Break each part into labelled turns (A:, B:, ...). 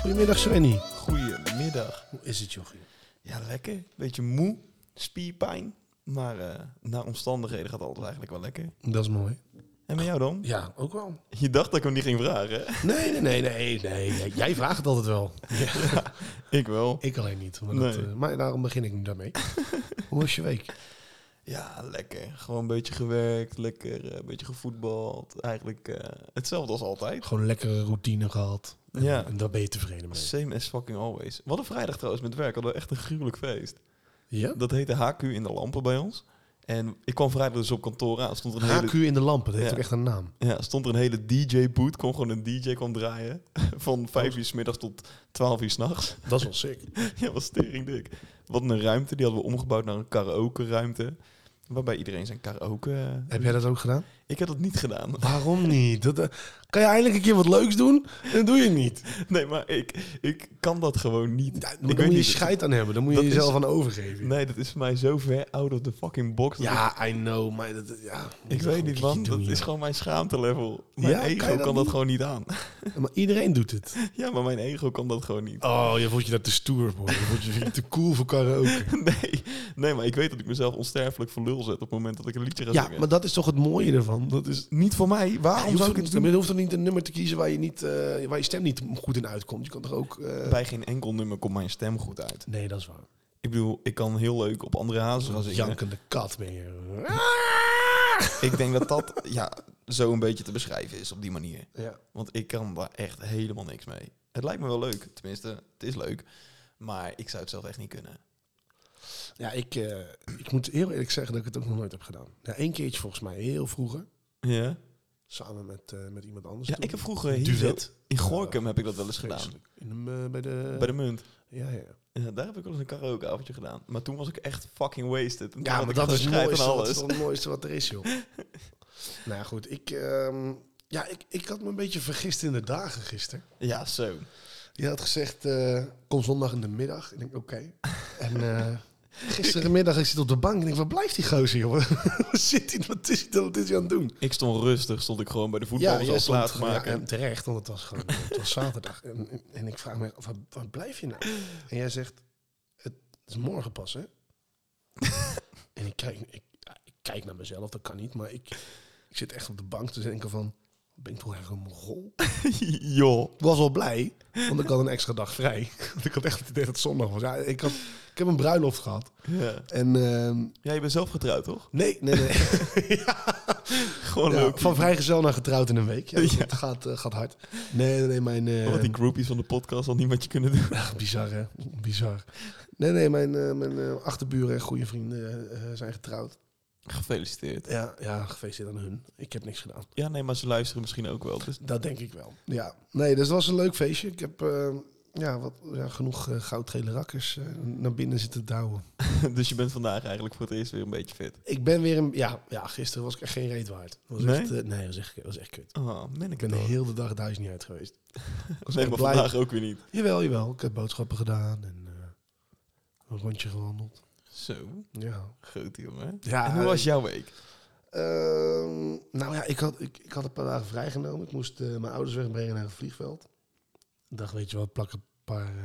A: Goedemiddag Svenny.
B: Goedemiddag.
A: Hoe is het jochie?
B: Ja, lekker. Beetje moe, spierpijn. Maar eh, naar omstandigheden gaat alles eigenlijk wel lekker.
A: Dat is mooi.
B: En met jou dan?
A: Ja, ook wel.
B: Je dacht dat ik hem niet ging vragen, hè?
A: Nee, nee, nee, nee. nee. Jij vraagt het altijd wel.
B: Ik wel.
A: Ik alleen niet. Maar, dat,
B: Nee.
A: eh, maar daarom begin ik nu daarmee. Hoe was je week?
B: Ja, lekker. Gewoon een beetje gewerkt, lekker eh, een beetje gevoetbald. Eigenlijk eh, hetzelfde als altijd.
A: Gewoon lekkere routine gehad. En,
B: Ja.
A: en daar ben je tevreden mee.
B: Same as fucking always. Wat een vrijdag trouwens met werk. Hadden we echt een gruwelijk feest.
A: Ja?
B: Dat heette HQ in de lampen bij ons. En ik kwam vrijdag dus op kantoor aan. Stond er een hele
A: HQ in de lampen, dat heeft
B: Ja.
A: ook echt een naam.
B: Ja, stond er een hele DJ-boot. Kon gewoon een DJ kwam draaien. Van 5 uur 's middags tot 12 uur s'nachts.
A: Dat is wel sick.
B: Ja, was teringdik. Wat een ruimte. Die hadden we omgebouwd naar een karaoke-ruimte. Waarbij iedereen zijn karaoke... eh,
A: Heb jij dat ook gedaan?
B: Ik heb dat niet gedaan.
A: Waarom niet? Dat, eh, kan je eindelijk een keer wat leuks doen? Dat doe je niet.
B: Nee, maar ik, ik kan dat gewoon niet.
A: Ja,
B: ik
A: dan moet je
B: niet.
A: scheid aan hebben. Dan moet je
B: Dat is-
A: jezelf aan overgeven.
B: Nee, dat is voor mij zo ver out of the fucking box. dat ik-
A: Ja, I know. Maar dat, ja,
B: Ik weet niet, man. Dat is gewoon mijn schaamte-level. Mijn
A: Ja, kan je
B: ego
A: dat
B: kan dat,
A: niet?
B: gewoon niet aan.
A: Maar iedereen doet het.
B: ja, maar mijn ego kan dat gewoon niet.
A: Oh, je voelt je daar te stoer voor. Je voelt je te cool voor karaoke.
B: Nee, nee, maar ik weet dat ik mezelf onsterfelijk voor lul zet op het moment dat ik een liedje ga
A: Ja,
B: zingen.
A: maar dat is toch het mooie ervan. Dat is,
B: niet voor mij.
A: je,
B: Waarom
A: hoeft
B: zou ik
A: toch niet,
B: het doen?
A: je hoeft toch niet een nummer te kiezen waar je, niet, eh, waar je stem niet goed in uitkomt. Je kan toch ook... eh,
B: Bij geen enkel nummer komt mijn stem goed uit.
A: Nee, dat is waar.
B: Ik bedoel, ik kan heel leuk op andere hazen gaan zingen.
A: Jankende kat ben je.
B: Ik denk dat dat ja, zo een beetje te beschrijven is op die manier.
A: Ja.
B: Want ik kan daar echt helemaal niks mee. Het lijkt me wel leuk. Tenminste, het is leuk. Maar ik zou het zelf echt niet kunnen.
A: Ja, ik, eh, ik moet heel eerlijk zeggen dat ik het ook nog nooit heb gedaan. Ja, Eén keertje volgens mij, heel vroeger.
B: Ja?
A: Samen met, eh, met iemand anders.
B: Ja,
A: toen.
B: ik heb vroeger hier
A: Duet.
B: zo- in Gorkum heb ik dat wel eens gedaan.
A: Vreselijk. In de, eh, bij de...
B: Bij de munt.
A: Ja, ja.
B: Ja, daar heb ik wel eens een karaokeavondje gedaan. Maar toen was ik echt fucking wasted. En toen
A: Ja,
B: had
A: maar
B: ik
A: dat
B: gewoon
A: is, het
B: scheid
A: mooiste, dat
B: aan
A: is
B: alles.
A: toch het mooiste wat er is, joh. nou ja, goed, ik, ehm, ja, ik, ik had me een beetje vergist in de dagen gisteren.
B: Ja, zo.
A: Je had gezegd, eh, kom zondag in de middag. Ik denk, oké. En eh gisterenmiddag ik zit op de bank en ik denk, waar blijft die gozer, joh? Waar zit hij? Wat is hij, wat is hij aan het doen?
B: Ik stond rustig, stond ik gewoon bij de voetballers al
A: stond
B: klaar te
A: gewoon- ja,
B: maken.
A: en terecht, want het was gewoon het was zaterdag. En, en, en ik vraag me, waar, waar blijf je nou? En jij zegt, het is morgen pas, hè? en ik kijk, ik, ja, ik kijk naar mezelf, dat kan niet. Maar ik, ik zit echt op de bank te denken van, ben ik toch echt een rol?
B: Joh.
A: was al blij, want ik had een extra dag vrij. Want ik had echt het idee dat het zondag was. Ja, ik, had, ik heb een bruiloft gehad.
B: Ja.
A: En ehm,
B: ja, je bent zelf getrouwd, toch?
A: nee, nee, nee.
B: Gewoon
A: Ja,
B: leuk.
A: van vrijgezel naar getrouwd in een week. Ja, dat
B: Ja.
A: dat gaat, eh, gaat hard. Nee, nee, nee, mijn... eh,
B: Wat die groupies van de podcast al niet met je kunnen doen.
A: Ah, bizar, hè? Bizar. Nee, nee, mijn, eh, mijn eh, achterburen en goede vrienden eh, zijn getrouwd.
B: Gefeliciteerd.
A: Ja, ja, gefeliciteerd aan hun. Ik heb niks gedaan.
B: Ja, nee, maar ze luisteren misschien ook wel. Dus
A: Dat denk ik wel. Ja, nee, dus het was een leuk feestje. Ik heb eh, ja, wat, ja, genoeg eh, goudgele rakkers eh, naar binnen zitten douwen.
B: Dus je bent vandaag eigenlijk voor het eerst weer een beetje fit.
A: Ik ben weer een... Ja, ja gisteren was ik echt geen reet waard. Was
B: Nee?
A: Echt, eh, nee, was echt, was echt kut.
B: Oh, ben
A: Ik ben de hele dag het huis niet uit geweest. Was
B: Nee,
A: echt
B: maar
A: blij.
B: vandaag ook weer niet.
A: Jawel, jawel. Ik heb boodschappen gedaan en eh, een rondje gewandeld.
B: Zo,
A: Ja.
B: groot jongen.
A: Ja, eh,
B: en hoe was jouw week?
A: Ehm, nou ja, ik had, ik, ik had een paar dagen vrijgenomen. Ik moest eh, mijn ouders wegbrengen naar het vliegveld. Ik dacht, weet je wat, plak er een paar eh,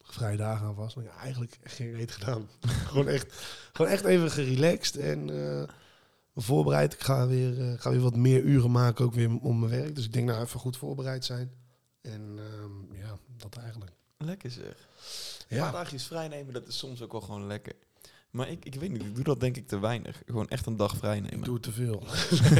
A: vrije dagen aan vast. Maar ja, eigenlijk echt geen reet gedaan. gewoon, echt, gewoon echt even gerelaxed en eh, me voorbereid. Ik ga weer, eh, ga weer wat meer uren maken, ook weer om mijn werk. Dus ik denk, nou, even goed voorbereid zijn. En ehm, ja, dat eigenlijk.
B: Lekker zeg. Ja.
A: Ja,
B: Dagjes vrij nemen, dat is soms ook wel gewoon lekker. Maar ik, ik weet niet, ik doe dat denk ik te weinig. Gewoon echt een dag vrij
A: ik
B: nemen.
A: doe te veel.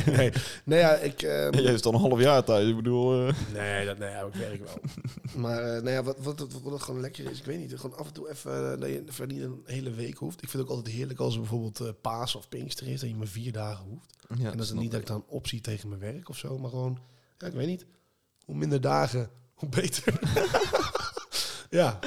A: nee, nee, ja, ik... ehm,
B: En jij is dan een half jaar thuis, ik bedoel... eh.
A: Nee, dat, nee, ja, ik werk wel. maar eh, nou ja, wat, wat, wat, wat gewoon lekker is, ik weet niet. Gewoon af en toe even eh, dat je verder niet een hele week hoeft. Ik vind het ook altijd heerlijk als er bijvoorbeeld eh Paas of Pinkster is, dat je maar vier dagen hoeft.
B: Ja,
A: en dat is
B: snap
A: niet dat
B: ik.
A: ik dan optie tegen mijn werk of zo, maar gewoon, ja, ik weet niet. Hoe minder dagen, hoe beter. ja,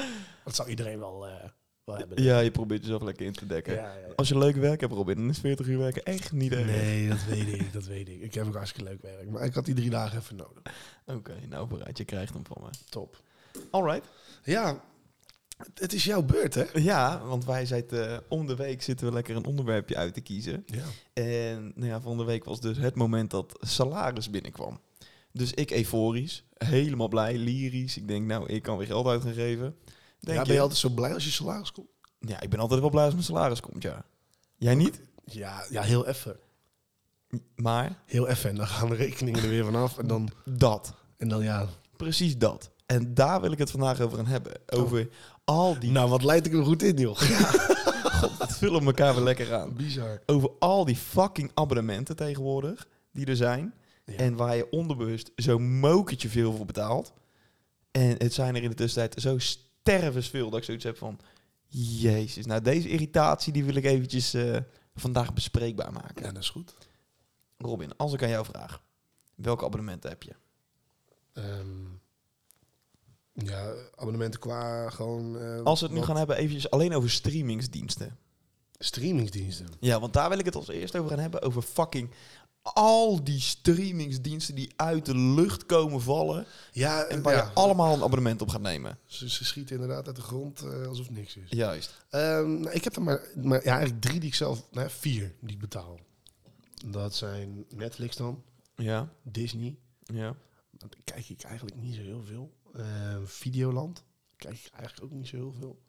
A: dat zou iedereen wel, eh, wel hebben.
B: Ja, je probeert jezelf lekker in te dekken.
A: Ja, ja, ja.
B: Als eh, je leuk werk hebt, Robin, dan is 40 uur werken echt niet erg.
A: Nee, dat weet ik, dat weet ik. Ik heb ook hartstikke leuk werk, maar ik had die drie dagen even nodig.
B: Oké, nou bereid, je krijgt hem van me.
A: Top.
B: Alright.
A: Ja, het- het is jouw beurt, hè?
B: Ja, want wij zitten eh, om de week zitten we lekker een onderwerpje uit te kiezen.
A: Ja.
B: En nou ja, van de week was dus het moment dat salaris binnenkwam. Dus ik euforisch, helemaal blij, lyrisch. Ik denk, nou, ik kan weer geld uit gaan geven. Denk
A: ja, ben
B: je-
A: je altijd zo blij als je salaris komt?
B: ja, ik ben altijd wel blij als mijn salaris komt, ja. Jij niet?
A: Ja, ja heel even.
B: Maar
A: Heel even. En dan gaan de rekeningen er weer vanaf. En dan,
B: dat.
A: en dan ja.
B: Precies dat. En daar wil ik het vandaag over gaan hebben. Over al die...
A: Nou, wat leid ik er goed in, joh.
B: Het vullen elkaar weer lekker aan.
A: Bizar.
B: Over al die fucking abonnementen tegenwoordig die er zijn.
A: Ja.
B: En waar je onderbewust zo mokertje veel voor betaalt. En het zijn er in de tussentijd zo stervensveel dat ik zoiets heb van... Jezus, nou deze irritatie die wil ik eventjes eh, vandaag bespreekbaar maken.
A: Ja, dat is goed.
B: Robin, als ik aan jou vraag, welke abonnementen heb je?
A: Ehm, ja, abonnementen qua gewoon... eh,
B: Als we het nu
A: wat-
B: gaan hebben eventjes alleen over streamingsdiensten.
A: Streamingsdiensten.
B: Ja, want daar wil ik het als eerst over gaan hebben. Over fucking al die streamingsdiensten die uit de lucht komen vallen.
A: Ja,
B: En
A: eh,
B: waar
A: ja,
B: je allemaal een abonnement op gaat nemen.
A: ze, ze schieten inderdaad uit de grond eh, alsof niks is.
B: Juist.
A: Ehm, nou, ik heb er maar, maar ja, eigenlijk drie die ik zelf... Nou, ja, vier die ik betaal. Dat zijn Netflix dan,
B: Ja,
A: Disney...
B: ja.
A: Want daar kijk ik eigenlijk niet zo heel veel. Eh, Videoland kijk ik eigenlijk ook niet zo heel veel.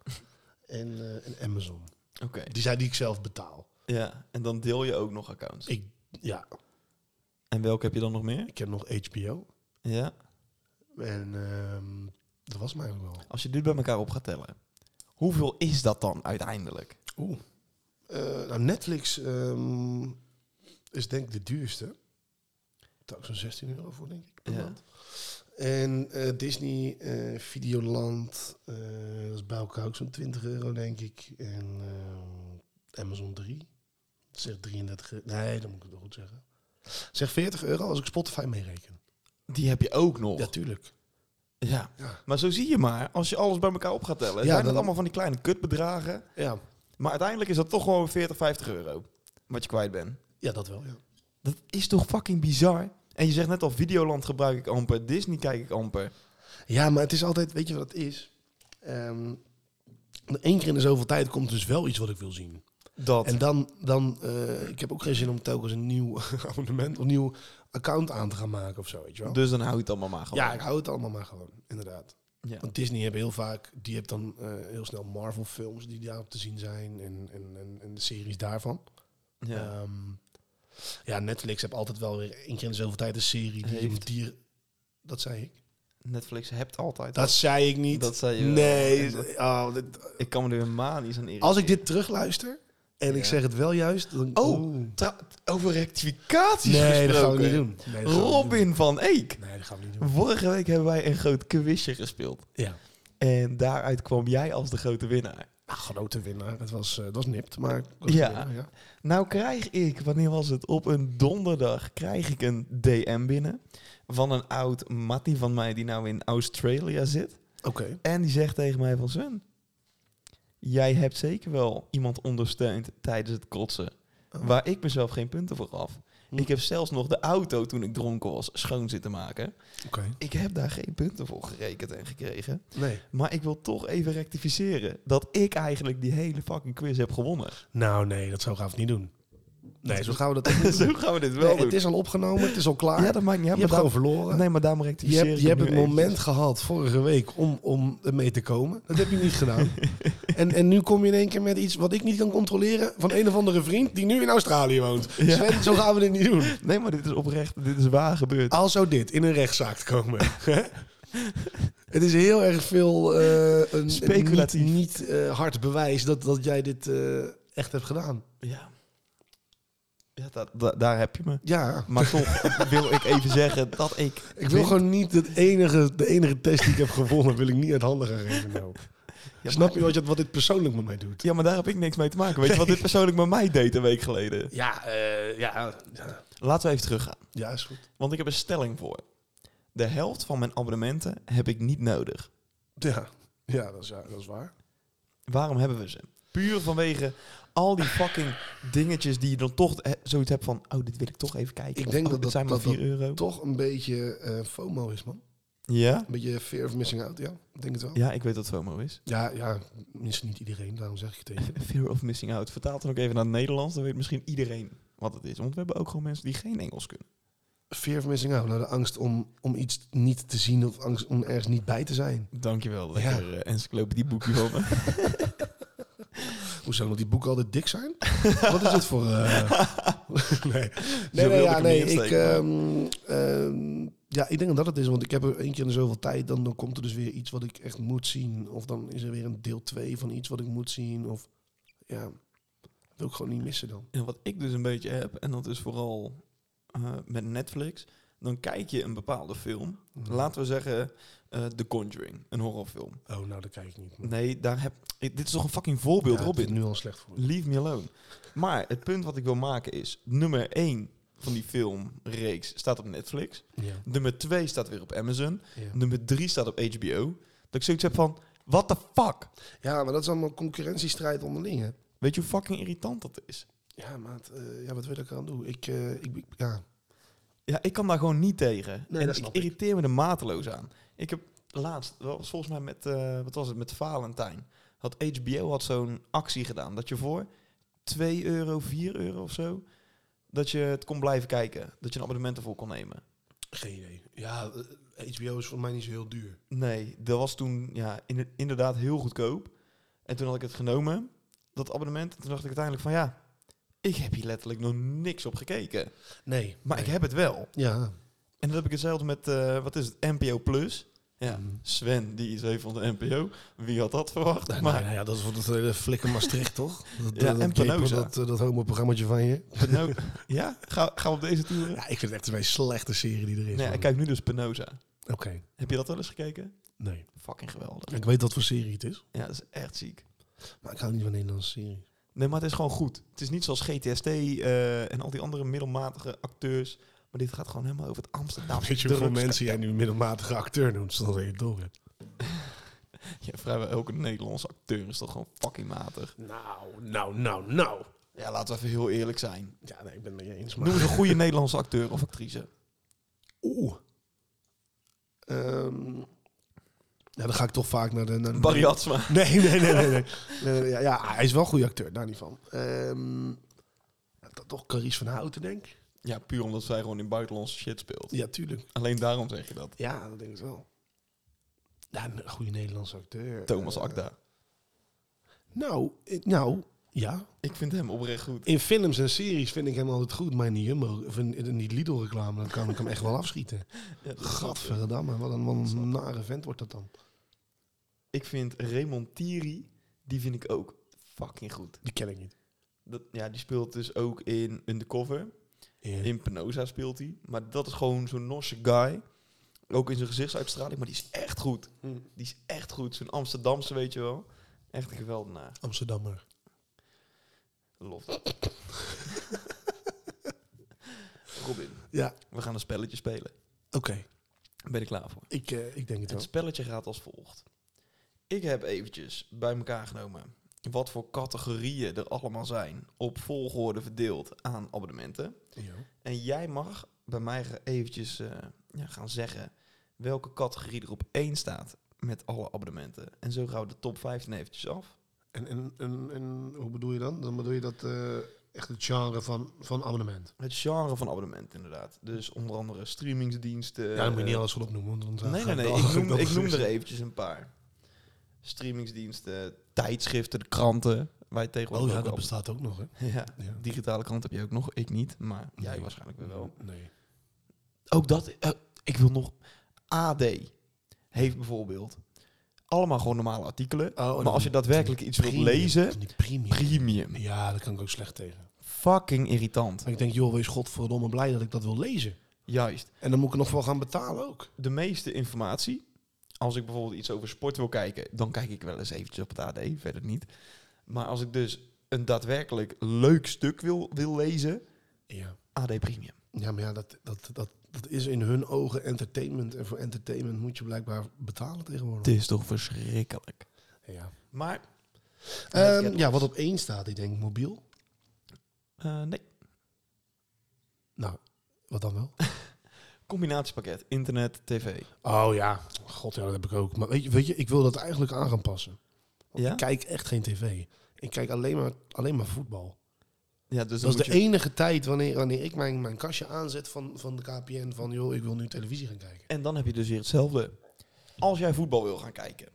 A: en, eh, en Amazon.
B: Oké.
A: Die zijn die ik zelf betaal.
B: Ja, en dan deel je ook nog accounts.
A: Ik, ja,
B: En welke heb je dan nog meer?
A: ik heb nog HBO.
B: Ja.
A: En ehm, dat was mij eigenlijk wel.
B: Als je dit bij elkaar op gaat tellen. Hoeveel is dat dan uiteindelijk?
A: Oeh. Eh, nou, Netflix ehm, is denk ik de duurste. Daar ook zo'n 16 euro voor, denk ik. Per
B: Ja.
A: maand. En eh, Disney, eh, Videoland, eh, dat is bij elkaar ook zo'n 20 euro, denk ik. En ehm, Amazon 3, dat zegt 33 euro. Nee, dan moet ik het nog goed zeggen. Zeg 40 euro als ik Spotify meereken.
B: Die heb je ook nog.
A: Ja, tuurlijk.
B: Ja.
A: Ja.
B: Maar zo zie je maar, als je alles bij elkaar op gaat
A: Ja,
B: tellen, zijn dat
A: dan-
B: allemaal van die kleine kutbedragen.
A: Ja,
B: Maar uiteindelijk is dat toch gewoon 40, 50 euro wat je kwijt bent.
A: ja dat wel, ja.
B: Dat is toch fucking bizar? En je zegt net al, Videoland gebruik ik amper, Disney kijk ik amper.
A: Ja, maar het is altijd, weet je wat het is? Ehm Eén keer in de zoveel tijd komt dus wel iets wat ik wil zien.
B: Dat.
A: En dan, dan eh, ik heb ook geen zin om telkens een nieuw abonnement of nieuw account aan te gaan maken of zo, weet je wel.
B: dus dan hou je het allemaal maar gewoon.
A: ja, ik hou het allemaal maar gewoon, inderdaad.
B: Ja.
A: Want Disney hebben heel vaak, die hebt dan eh, heel snel Marvel films die daarop te zien zijn en, en, en, en de series daarvan.
B: Ja.
A: Ehm, ja, Netflix heb altijd wel weer één keer in de zoveel tijd een serie die,
B: Heeft.
A: die dat zei ik.
B: Netflix hebt altijd.
A: Dat zei ik niet.
B: Dat zei je wel.
A: Nee,
B: En dat-
A: oh, dit-
B: Ik kan me er helemaal niet aan irriteren.
A: als ik dit terugluister en ik
B: Ja.
A: zeg het wel juist, dan...
B: Oh,
A: Oeh.
B: Tra- over rectificaties
A: Nee, dat gaan we
B: gesproken.
A: niet doen. Nee, dat gaan we niet
B: Robin van Eek.
A: doen. Nee, dat gaan we niet doen.
B: Vorige week hebben wij een groot quizje gespeeld.
A: Ja.
B: En daaruit kwam jij als de grote winnaar.
A: Nou, grote winnaar. Het was, eh, het was nipt, maar... grote
B: Ja.
A: winnaar, ja.
B: Nou krijg ik, wanneer was het? Op een donderdag krijg ik een DM binnen van een oud mattie van mij die nou in Australië zit.
A: Oké.
B: En die zegt tegen mij van Sven, jij hebt zeker wel iemand ondersteund tijdens het kotsen.
A: Oh.
B: Waar ik mezelf geen punten voor gaf.
A: Hm.
B: Ik heb zelfs nog de auto toen ik dronken was schoon zitten maken.
A: Oké.
B: Ik heb daar geen punten voor gerekend en gekregen.
A: Nee.
B: Maar ik wil toch even rectificeren dat ik eigenlijk die hele fucking quiz heb gewonnen.
A: Nou, nee, dat zo gaan we het niet doen. Nee, zo gaan we dat ook niet
B: Zo
A: doen.
B: Dus gaan we dit wel
A: Nee,
B: doen.
A: het is al opgenomen, het is al klaar.
B: ja, dat maakt niet
A: je
B: uit.
A: hebt
B: maar
A: gewoon
B: daarom-
A: verloren.
B: Nee, maar daarom
A: je
B: rectificeer
A: hebt,
B: ik
A: je hebt
B: nu
A: het moment
B: eventjes.
A: gehad vorige week om, om mee te komen. Dat heb je niet gedaan. en, en nu kom je in één keer met iets wat ik niet kan controleren... van een of andere vriend die nu in Australië woont.
B: Ja.
A: Sven, zo gaan we dit niet doen.
B: Nee, maar dit is oprecht. Dit is waar gebeurd.
A: Al zou dit in een rechtszaak komen. hè? het is heel erg veel eh, een,
B: Speculatief.
A: Niet, niet, eh, hard bewijs dat, dat jij dit eh, echt hebt gedaan.
B: Ja. Ja, da- da- daar heb je me.
A: Ja,
B: Maar toch wil ik even zeggen dat ik...
A: ik wil gewoon niet het enige, de enige test die ik heb gewonnen, wil ik niet uit handen gaan geven. nou.
B: maar-
A: Snap je wat, je- wat dit persoonlijk met mij doet?
B: Ja, maar daar heb ik niks mee te maken. Weet je wat dit persoonlijk met mij deed een week geleden?
A: Ja, eh, ja, ja.
B: Laten we even teruggaan.
A: ja, is goed.
B: Want ik heb een stelling voor. De helft van mijn abonnementen heb ik niet nodig.
A: Ja, ja, dat, is, ja dat is waar.
B: Waarom hebben we ze? Puur vanwege al die fucking dingetjes die je dan toch eh, zoiets hebt van... Oh, dit wil ik toch even kijken.
A: Ik
B: Of,
A: denk
B: oh,
A: dat
B: dit
A: dat-
B: zijn maar
A: dat dat
B: 4 euro.
A: Toch een beetje eh, FOMO is, man.
B: Ja?
A: Een beetje fear of missing out, ja. Ik denk het wel.
B: Ja, ik weet dat FOMO is.
A: Ja, ja, misschien niet iedereen, daarom zeg ik het even.
B: Fear of missing out. Vertaal het dan ook even naar het Nederlands. Dan weet misschien iedereen wat het is. Want we hebben ook gewoon mensen die geen Engels kunnen.
A: Fear of missing out. Nou, de angst om, om iets niet te zien of angst om ergens niet bij te zijn.
B: Dankjewel,
A: Ja.
B: lekker eh, encyclopedieboekje van me.
A: Hoezo, omdat die boeken altijd dik zijn? Wat is het voor... eh, nee, nee,
B: wilde
A: nee, ja, nee.
B: ik hem niet
A: Ik,
B: insteken,
A: ehm, ehm, ja, ik denk dat het is, want ik heb er één keer in zoveel tijd, dan, dan komt er dus weer iets wat ik echt moet zien. Of dan is er weer een deel 2 van iets wat ik moet zien. Of ja, dat wil ik gewoon niet missen dan.
B: En wat ik dus een beetje heb, en dat is vooral eh, met Netflix, dan kijk je een bepaalde film.
A: Mhm.
B: Laten we zeggen eh, The Conjuring, een horrorfilm.
A: Oh, nou, dat kijk ik niet.
B: Nee, daar heb ik- dit is toch een fucking voorbeeld,
A: Ja, het
B: Robin.
A: is nu al slecht voor me.
B: Leave me alone. Maar het punt wat ik wil maken is, nummer 1 van die filmreeks staat op Netflix.
A: Ja,
B: Nummer 2 staat weer op Amazon.
A: ja.
B: Nummer 3 staat op HBO. Dat ik zoiets heb van, what the fuck?
A: ja, maar dat is allemaal concurrentiestrijd onderling, hè.
B: Weet je hoe fucking irritant dat is?
A: Ja, maat, eh, ja, wat wil ik eraan doen? Ik, eh, ik, ik- ja.
B: Ja, ik kan daar gewoon niet tegen.
A: Nee,
B: en
A: dat
B: ik
A: snap ik.
B: irriteer me er mateloos aan. Ik heb laatst, dat was volgens mij met, eh, wat was het, met Valentijn. Had HBO had zo'n actie gedaan. Dat je voor 2 euro, 4 euro of zo, dat je het kon blijven kijken. Dat je een abonnement ervoor kon nemen.
A: Geen idee. Ja, eh, HBO is voor mij niet zo heel duur.
B: Nee, dat was toen ja, in- inderdaad heel goedkoop. En toen had ik het genomen, dat abonnement. En toen dacht ik uiteindelijk van ja, ik heb hier letterlijk nog niks op gekeken.
A: Nee.
B: Maar ik heb het wel.
A: Ja.
B: En dan heb ik hetzelfde met, eh, wat is het, NPO Plus. Ja,
A: Mhm.
B: Sven, die is even van de NPO. Wie had dat verwacht?
A: Nou,
B: maar
A: nou ja, dat is voor dat hele flikker Maastricht, toch? Dat,
B: Ja,
A: dat,
B: en
A: gapen,
B: Penosa.
A: dat, eh, dat homo-programmaatje van je.
B: Peno- ja, gaan ga we op deze toeren?
A: Ja, ik vind het echt de meest slechte serie die er is.
B: nee,
A: man.
B: ik kijk nu dus Penosa.
A: Oké,
B: Heb je dat wel eens gekeken?
A: nee.
B: Fucking geweldig.
A: Ik weet wat voor serie het is,
B: Ja, dat is echt ziek.
A: maar ik hou niet van Nederlandse series.
B: Nee, maar het is gewoon goed. Het is niet zoals GTST eh, en al die andere middelmatige acteurs. Maar dit gaat gewoon helemaal over het Amsterdamse
A: Weet je hoeveel
B: drugs-
A: mensen jij nu middelmatige acteur noemt, zodat je het door hebt?
B: Ja, vrijwel elke Nederlandse acteur is toch gewoon fucking matig.
A: Nou, nou, nou, nou.
B: Ja, laten we even heel eerlijk zijn.
A: Ja, nee, ik ben het niet eens,
B: Noem
A: maar...
B: eens een goede Nederlandse acteur of actrice.
A: Oeh. Ehm, ja, dan ga ik toch vaak naar de... Naar de-
B: Barry Atsma.
A: Nee, nee, nee, nee. nee. Nee, nee, ja, ja, hij is wel een goede acteur, daar niet van. Ehm, dat toch Carice van Houten, denk ik?
B: Ja, puur omdat zij gewoon in buitenlandse shit speelt.
A: Ja, tuurlijk.
B: Alleen daarom zeg je dat.
A: Ja, dat denk ik wel. Ja, een goede Nederlandse acteur.
B: Thomas
A: Eh,
B: Akda.
A: nou, eh, nou, ja.
B: Ik vind hem oprecht goed.
A: In films en series vind ik hem altijd goed, maar in die Jumbo, of in, in die Lidl-reclame, dan kan ik hem echt wel afschieten.
B: Ja, dat snap ik.
A: Gadverdamme, wat een, wat een nare vent wordt dat dan.
B: Ik vind Raymond Thierry, die vind ik ook fucking goed.
A: Die ken ik niet.
B: Dat, ja, die speelt dus ook in Undercover. In Penosa speelt hij. Maar dat is gewoon zo'n Norse guy. Ook in zijn gezichtsuitstraling. Maar die is echt goed.
A: Hm.
B: Die is echt goed. Zo'n Amsterdamse, weet je wel. Echt een geweldenaar.
A: Amsterdammer.
B: Lof dat. Robin,
A: Ja,
B: we gaan een spelletje spelen.
A: oké.
B: Ben ik klaar voor?
A: Ik, eh, ik denk het wel.
B: Het spelletje gaat als volgt. Ik heb eventjes bij elkaar genomen wat voor categorieën er allemaal zijn op volgorde verdeeld aan abonnementen.
A: Ja.
B: En jij mag bij mij ge- eventjes eh, ja, gaan zeggen welke categorie er op één staat met alle abonnementen. En zo gaan we de top 15 eventjes af.
A: En, en, en, en hoe bedoel je dan? Dan bedoel je dat eh, echt het genre van, van abonnement.
B: Het genre van abonnement inderdaad. Dus onder andere streamingsdiensten.
A: ja, dan moet je niet
B: eh,
A: alles van opnoemen. Want dan ga
B: Nee, nee, nee.
A: dan-
B: Ik noem,
A: dan-
B: ik noem er eventjes een paar. Streamingsdiensten, tijdschriften, de kranten. Waar je tegenwoordig
A: Oh ja,
B: ook
A: dat
B: op-
A: bestaat ook nog, hè?
B: Ja,
A: Ja.
B: digitale krant heb je ook nog. Ik niet, maar jij
A: Nee.
B: waarschijnlijk wel.
A: Nee.
B: Ook dat, eh, ik wil nog... AD heeft bijvoorbeeld allemaal gewoon normale artikelen.
A: Oh,
B: maar als je daadwerkelijk iets wilt lezen...
A: Die premium.
B: Premium.
A: Ja, daar kan ik ook slecht tegen.
B: Fucking irritant.
A: Maar ik denk, joh, wees godverdomme blij dat ik dat wil lezen.
B: Juist.
A: En dan moet ik er nog wel gaan betalen ook.
B: De meeste informatie... Als ik bijvoorbeeld iets over sport wil kijken... dan kijk ik wel eens eventjes op het AD, verder niet. Maar als ik dus een daadwerkelijk leuk stuk wil, wil lezen...
A: Ja,
B: AD Premium.
A: ja maar ja, dat, dat, dat, dat is in hun ogen entertainment. En voor entertainment moet je blijkbaar betalen
B: Het
A: tegenwoordig.
B: is toch verschrikkelijk.
A: Ja.
B: Maar...
A: Ehm, ja, wat op één staat, ik denk mobiel.
B: Eh, nee.
A: Nou, wat dan wel?
B: Combinatiepakket, internet, tv.
A: Oh ja, god ja, dat heb ik ook. Maar weet je, weet je ik wil dat eigenlijk aan gaan passen. Want
B: Ja?
A: ik kijk echt geen tv. Ik kijk alleen maar, alleen maar voetbal.
B: Ja, dus dan
A: dat is
B: moet
A: de
B: je-
A: enige tijd wanneer, wanneer ik mijn, mijn kastje aanzet van, van de KPN. Van joh, ik wil nu televisie gaan kijken.
B: En dan heb je dus weer hetzelfde. Als jij voetbal wil gaan kijken,